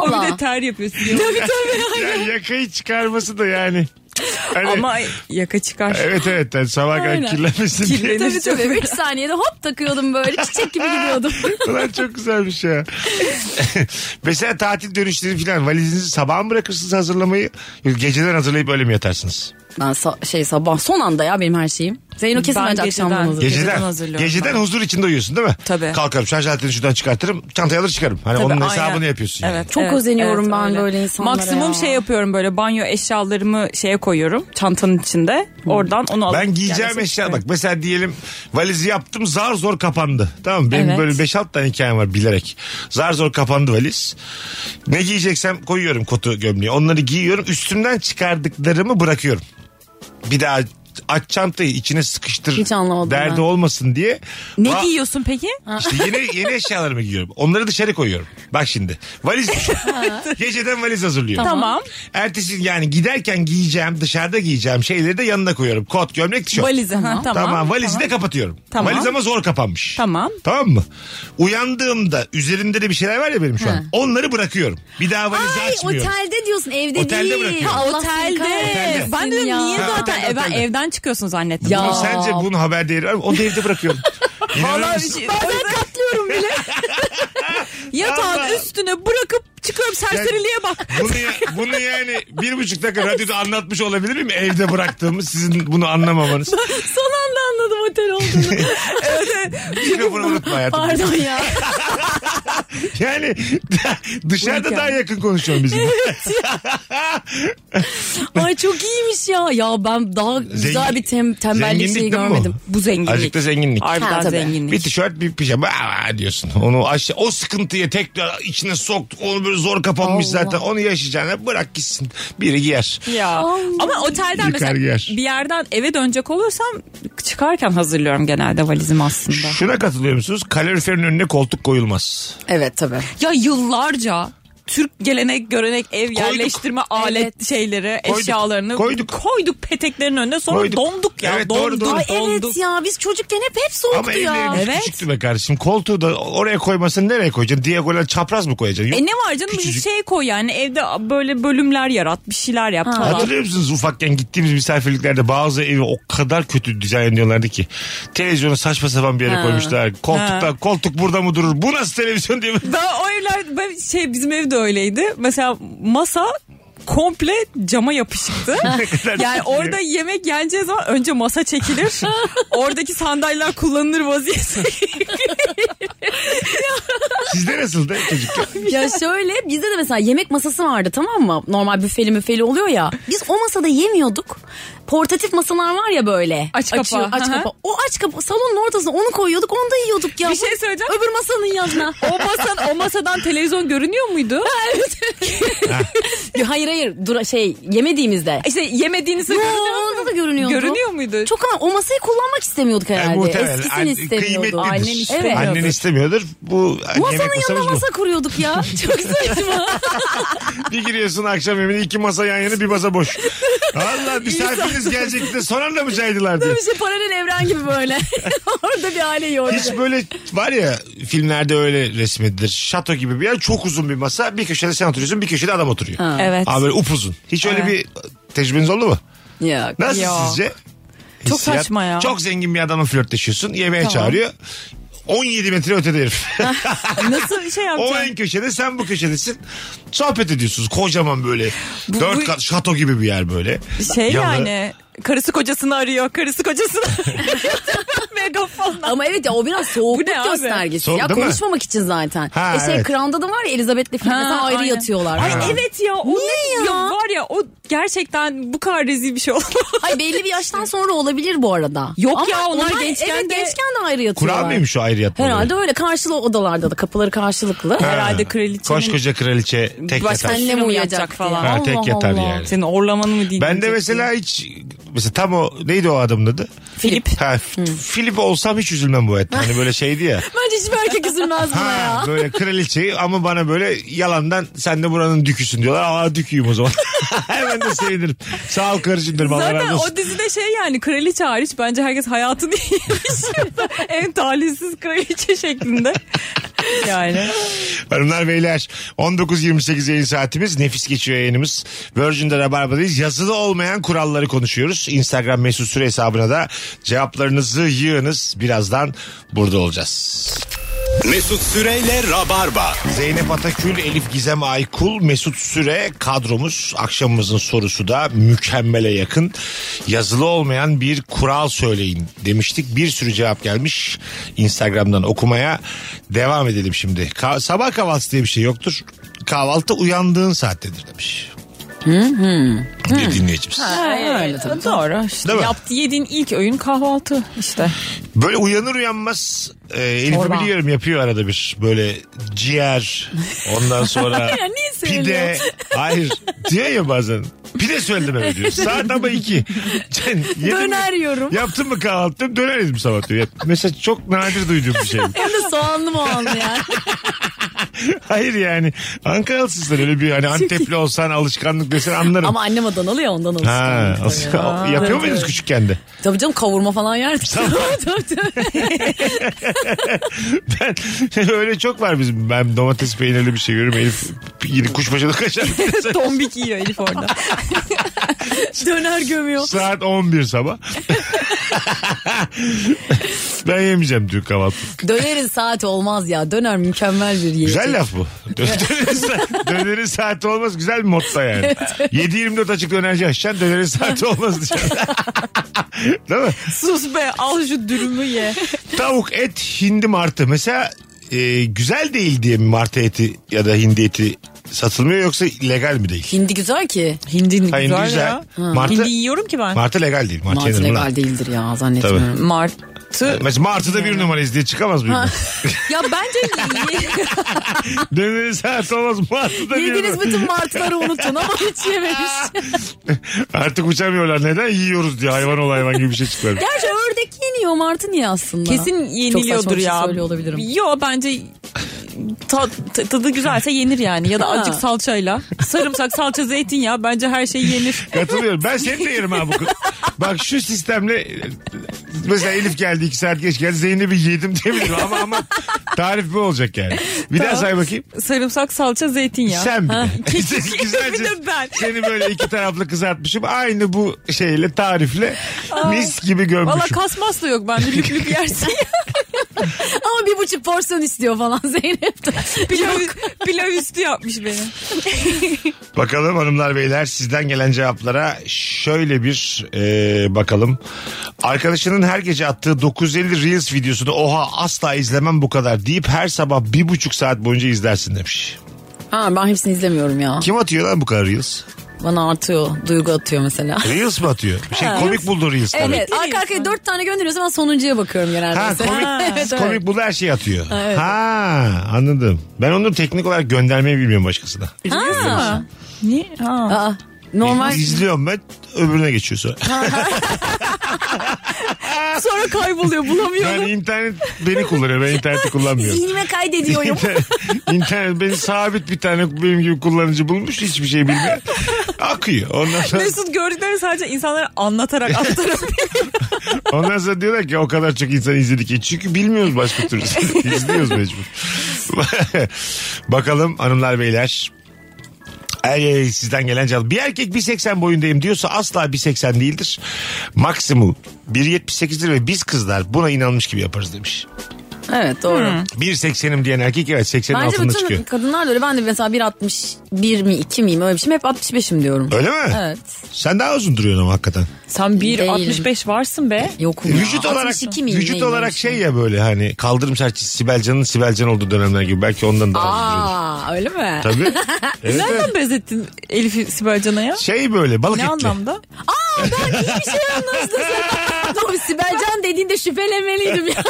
O bir Valla. de ter yapıyorsun. Tabii tabii. Ya yakayı çıkarması da yani. Hani- Ama yaka çıkar. Evet evet yani sabah kadar Aynen. kirlenmesin diye. Kirlenir. Tabii tabii. 3 saniyede hop takıyordum böyle çiçek gibi gidiyordum. Ulan çok güzelmiş ya. Mesela tatil dönüşleri falan valizinizi sabah mı bırakırsınız hazırlamayı? Yok, Geceden hazırlayıp öyle mi yatarsınız? Ben sa- şey sabah son anda ya benim her şeyim. Zeyno kesin Ben bence akşamdan hazır. geceden. Geceden Geceden, hazırlıyorum geceden huzur içinde uyuyorsun değil mi? Tabii. Kalkarım şarj aletini şuradan çıkartırım çantayı alır çıkarım. Hani Tabii, onun aynen. hesabını yapıyorsun. yani. Çok özeniyorum ben böyle insanlara Maksimum ya. şey yapıyorum böyle banyo eşyalarımı şeye koyuyorum çantanın içinde. Hmm. Oradan onu alıp Ben giyeceğim gelmesini eşya bak istiyorum. mesela diyelim valizi yaptım zar zor kapandı. Tamam mı? Benim Evet. böyle 5-6 tane hikayem var bilerek. Zar zor kapandı valiz. Ne giyeceksem koyuyorum kotu gömleği. Onları giyiyorum üstümden çıkardıklarımı bırakıyorum. Bir daha aç çantayı içine sıkıştır Hiç anlamadım derdi ben. olmasın diye. Ne Ba- giyiyorsun peki? İşte yeni, yeni eşyalarımı giyiyorum. Onları dışarı koyuyorum. Bak şimdi valiz düşün. Geceden valiz hazırlıyorum. Tamam. Ertesi yani giderken giyeceğim dışarıda giyeceğim şeyleri de yanına koyuyorum. Kot gömlek tişört. Valizi. Ha, tamam. Tamam, valizi de kapatıyorum. Tamam. Valiz ama zor kapanmış. Tamam. Tamam mı? Uyandığımda üzerimde de bir şeyler var ya benim şu an. Onları bırakıyorum. Bir daha valizi Ay açmıyorum. otelde diyorsun evde Otelde değil. bırakıyorum. Allah seni Otelde. kahretsin Ben dedim ya. niye Ha, zaten otelde, e, ben otelde. evden çıkıyorsun zannettim. Ya. Ama Sence bunun haber değeri var mı? Onu da evde bırakıyorum. İnanır Vallahi mısın? şey- bazen katlıyorum bile. Yatağın Allah. üstüne bırakıp çıkıyorum serseriliğe bak. Bunu, ya- bunu yani bir buçuk dakika radyoda anlatmış olabilir miyim? Evde bıraktığımı sizin bunu anlamamanız. Son anda anladım otel olduğunu. Mikrofonu unutma hayatım. Pardon ya. Yani dışarıda daha yakın konuşuyorum bizim. Ay çok iyiymiş ya. Ya ben daha güzel bir tem- tembellik Zenginlik şeyi değil mi bu? görmedim. Bu zenginlik. Azıcık da zenginlik. Ha, Harbiden tabii. zenginlik. Bir tişört bir pijama Aa, diyorsun. Onu aşağı, o sıkıntıyı tekrar içine soktuk. Onu böyle zor kapanmış Allah. zaten. Onu yaşayacağına bırak gitsin. Biri giyer. Ya. Ama otelden Yıkar mesela yer. bir yerden eve dönecek olursam çıkarken hazırlıyorum genelde valizimi aslında. Şuna katılıyor musunuz? Kaloriferin önüne koltuk koyulmaz. Evet tabii. Ya yıllarca Türk gelenek görenek ev yerleştirme alet Evet. şeyleri Koyduk. eşyalarını Koyduk. koyduk peteklerin önüne sonra Koyduk. donduk ya Evet, doğru, donduk doğru. Ay donduk. evet ya biz çocukken hep hep soğuktu Ama ya. evlerimiz küçüktü be kardeşim. Koltuğu da oraya koymasın nereye koyacaksın? Diagonal çapraz mı koyacaksın? Yok. E ne var canım Küçücük. şey koy yani evde böyle bölümler yarat bir şeyler yap falan. Hatırlıyor musunuz ufakken gittiğimiz misafirliklerde bazı evi o kadar kötü dizaynlıyorlardı ki. Televizyonu saçma sapan bir yere koymuşlar. Koltukta koltuk burada mı durur? Bu nasıl televizyon diye. Ben o evler ben şey bizim ev de öyleydi. Mesela masa komple cama yapışıktı. kadar yani çirkin. orada yemek yeneceği zaman önce masa çekilir. Oradaki sandalyeler kullanılır vaziyette. Sizde nasıldı çocukken? Ya şöyle bizde de mesela yemek masası vardı tamam mı? Normal büfeli müfeli oluyor ya. Biz o masada yemiyorduk. Portatif masalar var ya böyle. Aç kapağı. Açıyor, aç Hı hı. kapağı. O aç kapağı salonun ortasına onu koyuyorduk onu da yiyorduk ya. Bir şey Bu- söyleyeceğim. Öbür masanın yanına. o, masan, o masadan televizyon görünüyor muydu? Ya hayır hayır dura şey yemediğimizde. işte yemediğinizde Yo, görünüyor onda muydu? da görünüyordu. Görünüyor muydu? Çok ama o masayı kullanmak istemiyorduk herhalde. Yani muhtemelen. Eskisini An- istemiyordu. kıymetlidir. Annen istemiyordu. Annen istemiyordur. Bu yemek Masanın yanına masamız masa kuruyorduk ya. Çok saçma. bu. Bir giriyorsun akşam evine iki masa yan yana bir masa boş. Valla misafiriniz gelecekti de son anda mı caydılar diye. bir şey paralel evren gibi böyle. Orada bir aile yordu. Hiç böyle var ya filmlerde öyle resmedilir. Şato gibi bir yer çok uzun bir masa. Bir köşede sen oturuyorsun bir köşede adam oturuyor. Evet. Ama böyle upuzun. Hiç öyle Evet. bir tecrübeniz oldu mu? Yok. Nasıl Ya. sizce? Çok saçma ya. Çok zengin bir adamla flörtleşiyorsun. Yemeğe çağırıyor. 17 metre ötede herif. Nasıl bir şey O yapacaksın? en köşede sen bu köşedesin. Sohbet ediyorsunuz kocaman böyle. dört bu- kat şato gibi bir yer böyle. Şey Yalı. yani karısı kocasını arıyor. Karısı kocasını megafonla. Ama evet ya o biraz soğukluk Bu ne abi? göstergesi. Soğuk ya değil mi? konuşmamak için zaten. Ha, e şey evet. Crown'da da var ya Elizabeth'le Philip'le ayrı aynen. yatıyorlar. Ay falan. evet ya. O Niye ne- ya? Var ya o gerçekten bu kadar rezil bir şey olmaz. Ay belli bir yaştan sonra olabilir bu arada. Yok ya, onlar gençken evet, de- gençken de ayrı yatıyorlar. Kural mıymış o ayrı yatmaları? Herhalde öyle karşılı odalarda da kapıları karşılıklı. Herhalde kraliçenin Koskoca kraliçe tek başka yatar. Annem anne mi uyuyacak uyuyacak falan. diye. Ha, tek Allah yatar Allah. yani. Senin orlamanı mı değil? Ben de mesela hiç mesela tam o neydi o adamın adı? Filip. Ha, Filip olsam hiç üzülmem bu hayatta. Hani böyle şeydi ya. Bence hiçbir erkek üzülmez buna Ha, ya. böyle kraliçeyi ama bana böyle yalandan sen de buranın düküsün diyorlar. Aa düküyüm o zaman. Hemen de sevinirim. Sağ ol karıcığım derim. Allah Zaten razı olsun. o dizide şey yani kraliçe hariç bence herkes hayatını yaşıyor. en talihsiz kraliçe şeklinde. Yani. Hanımlar beyler 19.28 yayın saatimiz nefis geçiyor yayınımız. Virgin'de Rabarba'dayız. Yazılı olmayan kuralları konuşuyoruz. Instagram mesut süre hesabına da cevaplarınızı yığınız. Birazdan burada olacağız. Mesut Süreyle Rabarba. Zeynep Atakül, Elif Gizem Aykul, Mesut Süre kadromuz. Akşamımızın sorusu da mükemmele yakın. Yazılı olmayan bir kural söyleyin demiştik. Bir sürü cevap gelmiş Instagram'dan okumaya. Devam edelim şimdi. Ka- sabah kahvaltısı diye bir şey yoktur. Kahvaltı uyandığın saattedir demiş. Bir dinleyicimiz. öyle tabii. Doğru. İşte Değil mi? yaptı yediğin ilk öğün kahvaltı işte. Böyle uyanır uyanmaz e, Elif'i Çorba. biliyorum yapıyor arada bir böyle ciğer ondan sonra niye pide söylüyorsun? hayır diyor ya bazen pide söyledim eve diyor saat ama iki Can, yedin mi? Döner yiyorum. yaptın mı kahvaltı diyorum, döner yedim sabah diyor Ya, mesela çok nadir duyduğum bir şey Hem de soğanlı muğanlı yani. hayır yani Ankaralısın öyle bir hani Antepli olsan alışkanlık desen anlarım Ama annem Adanalı ya ondan olsun. Ha, tabii. asıl- yapıyor muydunuz küçükken de? Tabii canım kavurma falan yerdik. tabii tabii. Ben öyle çok var bizim. Ben domates peynirli bir şey görüyorum. Elif yine kuşbaşılı kaşar. Tombik yiyor Elif orada. Döner gömüyor. Saat 11 sabah. ben yemeyeceğim diyor kahvaltı. Dönerin saati olmaz ya. Döner mükemmel bir yiyecek. Güzel laf bu. Dönerin, sa- dönerin saati olmaz. Güzel bir modda yani. 7-24 açık dönerci açacaksın. Dönerin saati olmaz diyeceksin. Değil mi? Sus be al şu dürümü ye. Tavuk, et, hindi martı. Mesela e, güzel değil diye mi martı eti ya da hindi eti satılmıyor yoksa legal mi değil? Hindi güzel ki. Hindin Ha, hindi güzel, güzel. ya. Martı- Hindi yiyorum ki ben. Martı legal değil. Martı, Martı yenir mi lan? legal değildir ya zannetmiyorum. Martı. Mesela martıda bir numarayız diye çıkamaz mıyım? ya bence Dönerin saati olmaz martıda bir Yediğiniz numara. bütün martıları unutun ama hiç yememiş. Artık uçamıyorlar neden yiyoruz diye hayvan ol hayvan gibi bir şey çıkıyor. Gerçi ördek yeniyor martı niye aslında? kesin Çok saçma yeniliyordur bir şey ya. söylüyor olabilirim. Yo bence ta- ta- tadı güzelse yenir yani ya da Ha. azıcık salçayla. Sarımsak, salça, zeytinyağı bence her şey yenir. Katılıyorum. Ben seni de yerim ha bu kız. Bak şu sistemle mesela Elif geldi iki saat geç geldi Zeynep'i yedim diyebilirim ama ama tarif bu olacak yani. Bir daha say bakayım. Sarımsak, salça, zeytinyağı. Sen bir de. Keşke Güzelce bir de ben. Seni böyle iki taraflı kızartmışım. Aynı bu şeyle tarifle mis gibi Valla gömmüşüm. kasmas da yok bende lüp lüp yersin ya. Ama bir buçuk porsiyon istiyor falan Zeynep de. Pilav, pilav üstü yapmış beni. Bakalım hanımlar beyler sizden gelen cevaplara şöyle bir e, bakalım. Arkadaşının her gece attığı 950 Reels videosunu oha asla izlemem bu kadar deyip her sabah bir buçuk saat boyunca izlersin demiş. Ha ben hepsini izlemiyorum ya. Kim atıyor lan bu kadar Reels? Bana artıyor. Duygu atıyor mesela. Reels mi atıyor? Bir şey komik buldu Reels tabii. Evet E, arka arkaya dört tane gönderiyorsa ben sonuncuya bakıyorum genelde. Ha mesela. komik, Evet, evet. komik buldu her şeyi atıyor. Ha anladım. Ben onu teknik olarak göndermeyi bilmiyorum başkasına. Ha. Niye? Ha. Aa, normal. İzliyorum ben öbürüne geçiyor sonra. Sonra kayboluyor bulamıyorum. Ben internet beni kullanıyor ben interneti kullanmıyorum. Zihnime kaydediyorum. İnternet beni sabit bir tane benim gibi kullanıcı bulmuş hiçbir şey bilmiyor. Akıyor. Ondan sonra, Mesut gördüklerini sadece insanlara anlatarak aktarabiliyor. ondan sonra diyorlar ki o kadar çok insan izledik ki. Çünkü bilmiyoruz başka türlü. İzliyoruz mecbur. Bakalım hanımlar beyler. Ay, ay, sizden gelen cevap. Bir erkek 1.80 boyundayım diyorsa asla 1.80 değildir. Maksimum 1.78'dir ve biz kızlar buna inanmış gibi yaparız demiş. Evet doğru. 1.80'im diyen erkek evet 80'in Bence altında bütün çıkıyor. kadınlar da öyle. Ben de mesela 1.61 mi 2 miyim öyle bir şeyim. Hep 65'im diyorum. Öyle mi? Evet. Sen daha uzun duruyorsun ama hakikaten. Sen 1.65 varsın be. Yokum ya. Vücut olarak 62 miyim vücut neyim olarak işte? şey ya böyle hani kaldırım serçesi Sibelcan'ın Sibelcan olduğu dönemler gibi belki ondan daha uzun duruyorsun. Aa öyle mi? Tabii. Evet, Nereden evet. benzettin Elif'i Sibel Can'a ya? Şey böyle balık Ne etli. anlamda? Aa ben iyi bir şey anlattım. Dur Sibelcan dediğinde şüphelenmeliydim ya.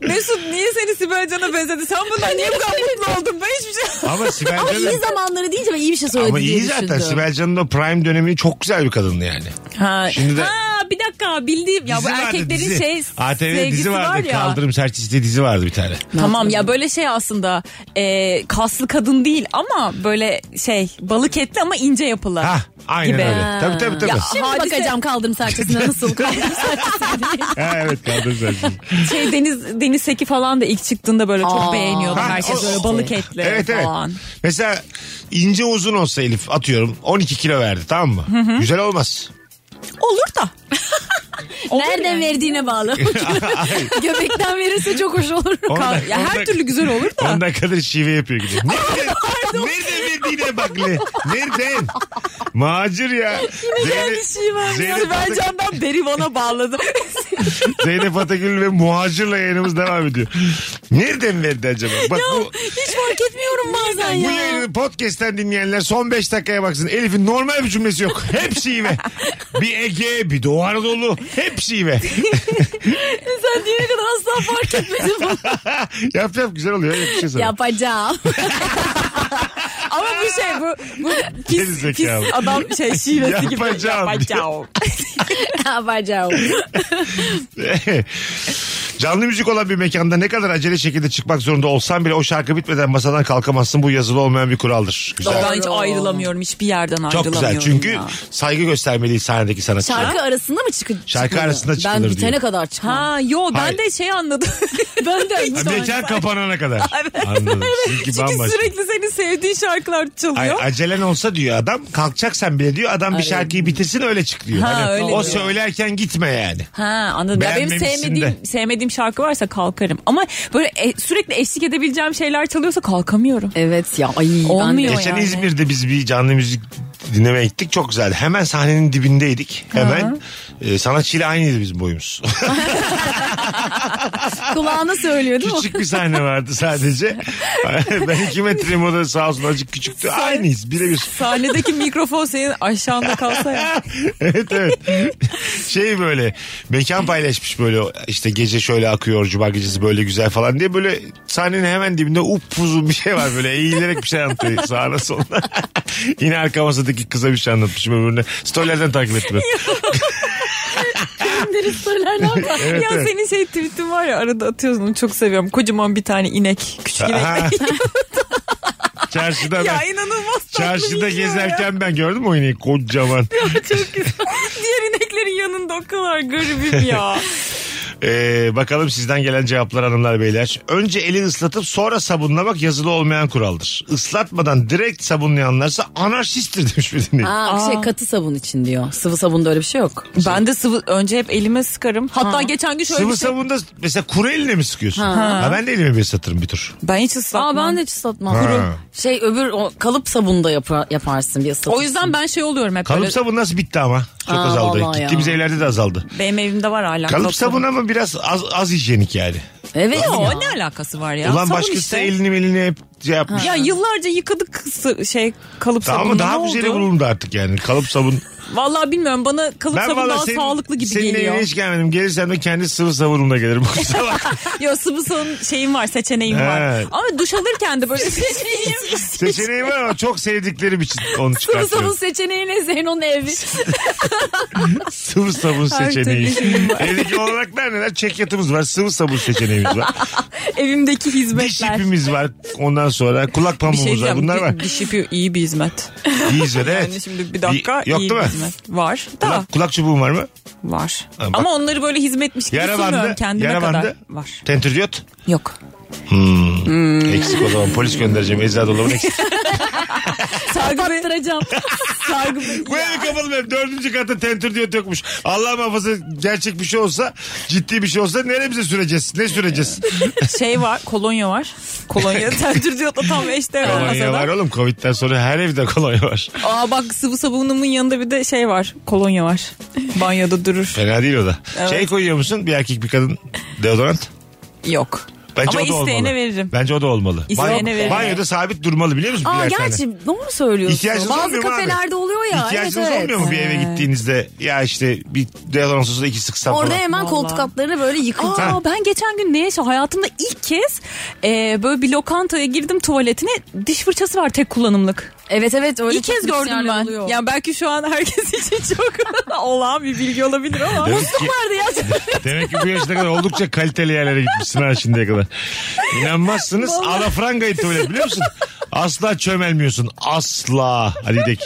Mesut niye seni Sibel Can'a benzetti? Sen bundan niye bu kadar mutlu oldun? Ben hiçbir şey... Ama Ama iyi Sibelcan'ın zamanları deyince ben iyi bir şey söyledim ama diye iyi zaten. düşündüm. Sibelcan'ın o prime dönemi çok güzel bir kadındı yani. Ha, Şimdi de- ha bir dakika bildiğim. Ya bu Dizi vardı, erkeklerin dizi. şey ATV sevgisi dizi vardı. var ya. Kaldırım serçesi diye dizi vardı bir tane. Tamam ya böyle şey aslında e, kaslı kadın değil ama böyle şey balık etli ama ince yapılı. Ha, aynen Gibi. öyle. Tabii tabii tabii. Ya, Şimdi Hadise- bakacağım kaldırım serçesine nasıl kaldırım serçesi diye. Ha, evet kaldırım serçesi. Şey deniz deniz seki falan da ilk çıktığında böyle çok Aa. beğeniyordum Ha, herkes o- böyle balık etli Evet evet. falan. Mesela ince uzun olsa Elif atıyorum 12 kilo verdi tamam mı? Güzel olmaz. Olur da. Olur Nereden yani. verdiğine bağlı. Göbekten verirse çok hoş olur. Onu da- Ya onu her da- türlü güzel olur da. Ondan kadar şive yapıyor gidiyor. Nerede? nerede verdiğine bak le. Nereden? Macir ya. Zeynep, Zeynep, şey ben Atak- candan beri bana bağladım. Zeynep Atakül ve Muhacir'la yayınımız devam ediyor. Nereden verdi acaba? Bak bu, Hiç fark etmiyorum bazen bu yayını podcast'ten dinleyenler son 5 dakikaya baksın. Elif'in normal bir cümlesi yok. Hep şive. Bir Ege, bir Doğu Anadolu. Hep şive. Sen diyene kadar asla fark etmedim bunu. yap yap güzel oluyor. Yap bir şey sana. Yapacağım. Ama bu şey bu, bu Geri pis, pis zekalı. adam şey şivesi gibi. Yapacağım. Yapacağım. Yapacağım. Canlı müzik olan bir mekanda ne kadar acele şekilde çıkmak zorunda olsan bile o şarkı bitmeden masadan kalkamazsın. Bu yazılı olmayan bir kuraldır. Güzel. Ben hiç ayrılamıyorum. Hiçbir yerden Çok ayrılamıyorum. güzel çünkü ya. saygı göstermeliyiz sahnedeki sanatçılara. Şarkı arasında mı çıkacak? Şarkı arasında çıkılır Ben bitene diyor. kadar çıkmam. Ha yo ben Hayır. de şey anladım. ben de Ha, Mekan kapanana kadar. Anladım. Çünkü Çünkü bambaşka. sürekli senin sevdiğin şarkılar Ay, çalıyor. acelen olsa diyor adam kalkacaksan bile diyor adam bir şarkıyı bitirsin öyle çık diyor. Ha, Hani öyle o diyor. söylerken gitme yani. Ha anladım. Ya benim Beğenmemişsin sevmediğim sevmediğim şarkı varsa kalkarım. Ama böyle e, sürekli eşlik edebileceğim şeyler çalıyorsa kalkamıyorum. Evet ya. Ay, ben de- Olmuyor. Geçen yani. İzmir'de biz bir canlı müzik dinlemeye gittik. Çok güzeldi. Hemen sahnenin dibindeydik. Hemen e, sanatçıyla aynıydı bizim boyumuz. Kulağına söylüyor değil mi? küçük bir sahne vardı sadece. ben iki metreyim o da sağ olsun azıcık küçüktü. Aynıyız birebir. Sahnedeki mikrofon senin aşağında kalsa ya. evet evet. Şey böyle mekan paylaşmış böyle işte gece şöyle akıyor cuma gecesi böyle güzel falan diye böyle sahnenin hemen dibinde upuzun bir şey var böyle eğilerek bir şey anlatıyor sağına soluna. Yine arka masadaki kıza bir şey anlatmışım öbürüne. Storylerden takip ettim. ben. Kimleri söyler ne yapar? Evet, ya evet. senin şey tweetin var ya arada atıyorsun onu çok seviyorum. Kocaman bir tane inek. Küçük inek. Aha. Çarşıda ben, ya inanılmaz tatlı çarşıda bir şey gezerken ben gördüm o ineği kocaman. Ya. çok güzel. Diğer ineklerin yanında o kadar garibim ya. Ee, bakalım sizden gelen cevaplar hanımlar beyler. Önce eli ıslatıp sonra sabunlamak yazılı olmayan kuraldır. Islatmadan direkt sabunlayanlarsa anarşisttir demiş bir dinleyici. Aa, şey katı sabun için diyor. Sıvı sabunda öyle bir şey yok. ben de sıvı önce hep elime sıkarım. Hatta geçen gün şöyle Sıvı bir şey. sabunda mesela kuru eline mi sıkıyorsun? Ha. ben de elimi bir ıslatırım bir tur. Ben hiç ıslatmam. Aa ben de hiç ıslatmam. Ha. Kuru. Şey öbür o, kalıp sabunda yap- yaparsın bir ıslatırsın. O yüzden ben şey oluyorum hep Kalıp böyle. sabun nasıl bitti ama? Çok Aa, azaldı. vallahi ya. Gittiğimiz evlerde de azaldı. Benim evimde var hala. Kalıp sabun ama biraz az, az hijyenik yani. Evet ya. Yo, ne alakası var ya? Ulan Sabun başkası işte. da elini elini hep şey yapmış. Ya yıllarca yıkadık sı- şey kalıp Daha, sabunu. ama daha ne güzeli oldu? bulundu artık yani. Kalıp sabun. Vallahi bilmiyorum bana kalıp sabun vallahi daha senin- sağlıklı gibi senin geliyor. evine hiç gelmedim. Gelirsem de kendi sıvı sabunumla gelirim. Kusura bakma. Yo sıvı sabun şeyim var seçeneğim var. Evet. Ama duş alırken de böyle Seçeneği var ama çok sevdiklerim için onu Sıvı sabun çıkartıyorum. seçeneği ne Zeyno'nun evi? Sıvı sabun Her seçeneği. türlü şeyim var. Evdeki olaraklar neler? Çek yatımız var, sıvı sabun seçeneğimiz var. evimdeki Diş hizmetler. ipimiz var. Ondan sonra kulak Bir şey pamuğumuz var. diyeceğim. Bunlar di- var. Diş ipi iyi bir hizmet. İyiyiz öyle. Yani şimdi bir dakika Bir- yok iyi değil bir mi? hizmet. Var. Da Kulak, kulak çubuğum var mı? var. Ha, bak. Ama onları böyle hizmetmiş gibi Yara sunmuyorum bandı. kendime Yara kadar. bandı. Var. Tentridiyot. Yok. Eksik eksik o zaman. Polis göndereceğim. Eczane dolabın eksik. Sargı Bey. Kaptıracağım. Sargı Bey. Bu evi kapalı benim. Dördüncü katta tentür diye dökmüş. Allah muhafaza gerçek bir şey olsa, ciddi bir şey olsa neremize süreceğiz? Ne süreceğiz? Şey var kolonya var. Kolonya tentür diyor da tam eşdeğer kolonya masada. var oğlum. Covid'den sonra her evde kolonya var. Aa bak sıvı sabunumun yanında bir de şey var. Kolonya var. Banyoda durur. Fena değil o da. Evet. Şey koyuyor musun? Bir erkek bir kadın deodorant. Yok. Ama o da isteyene olmalı. veririm. Bence o da olmalı. İsteyene Banyo- veririm. Banyoda sabit durmalı biliyor musun? Aa Birer tane. gerçi doğru söylüyorsun. İhtiyacınız Bazı olmuyor mu abi? kafelerde oluyor ya. İhtiyacınız evet, evet. olmuyor mu bir eve gittiğinizde? Ya işte bir deodorant sosu da iki sıksam Orada falan. hemen Vallahi. koltuk altlarını böyle yıkıldı. Ha. Aa, ben geçen gün neyse hayatımda ilk kez e, böyle bir lokantaya girdim tuvaletine diş fırçası var tek kullanımlık. Evet evet öyle İlk kez çok gördüm isyanlar ben. oluyor. Yani belki şu an herkes için çok olağan bir bilgi olabilir ama. Demek ki, vardı ya. demek ki bu yaşına kadar oldukça kaliteli yerlere gitmişsin ha şimdiye kadar. İnanmazsınız. Alafranga'yı tuvalet biliyor musun? Asla çömelmiyorsun. Asla. Hadi gidelim.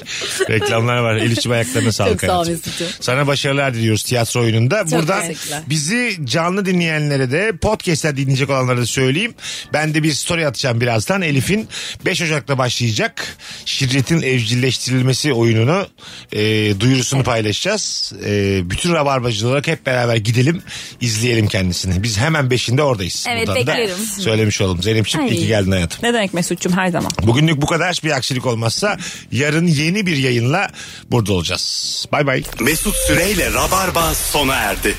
Reklamlar var. Elif'ciğim ayaklarına sağlık. Çok sağ ol hayatım. Mesut'cum. Sana başarılar diliyoruz tiyatro oyununda. Buradan teşekkürler. bizi canlı dinleyenlere de podcast'ten dinleyecek olanlara da söyleyeyim. Ben de bir story atacağım birazdan. Elif'in 5 Ocak'ta başlayacak şirketin evcilleştirilmesi oyununu e, duyurusunu paylaşacağız. E, bütün rabarbacılar olarak hep beraber gidelim izleyelim kendisini. Biz hemen 5'inde oradayız. Evet, da beklerim. söylemiş olalım. Zeynep'ciğim iyi Ay. ki geldin hayatım. Ne demek Mesut'cum her zaman. Bugünlük bu kadar bir aksilik olmazsa yarın yeni bir yayınla burada olacağız. Bay bay. Mesut Süreyle Rabarba sona erdi.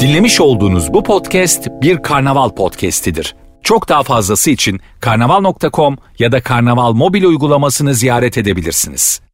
Dinlemiş olduğunuz bu podcast bir karnaval podcastidir. Çok daha fazlası için karnaval.com ya da karnaval mobil uygulamasını ziyaret edebilirsiniz.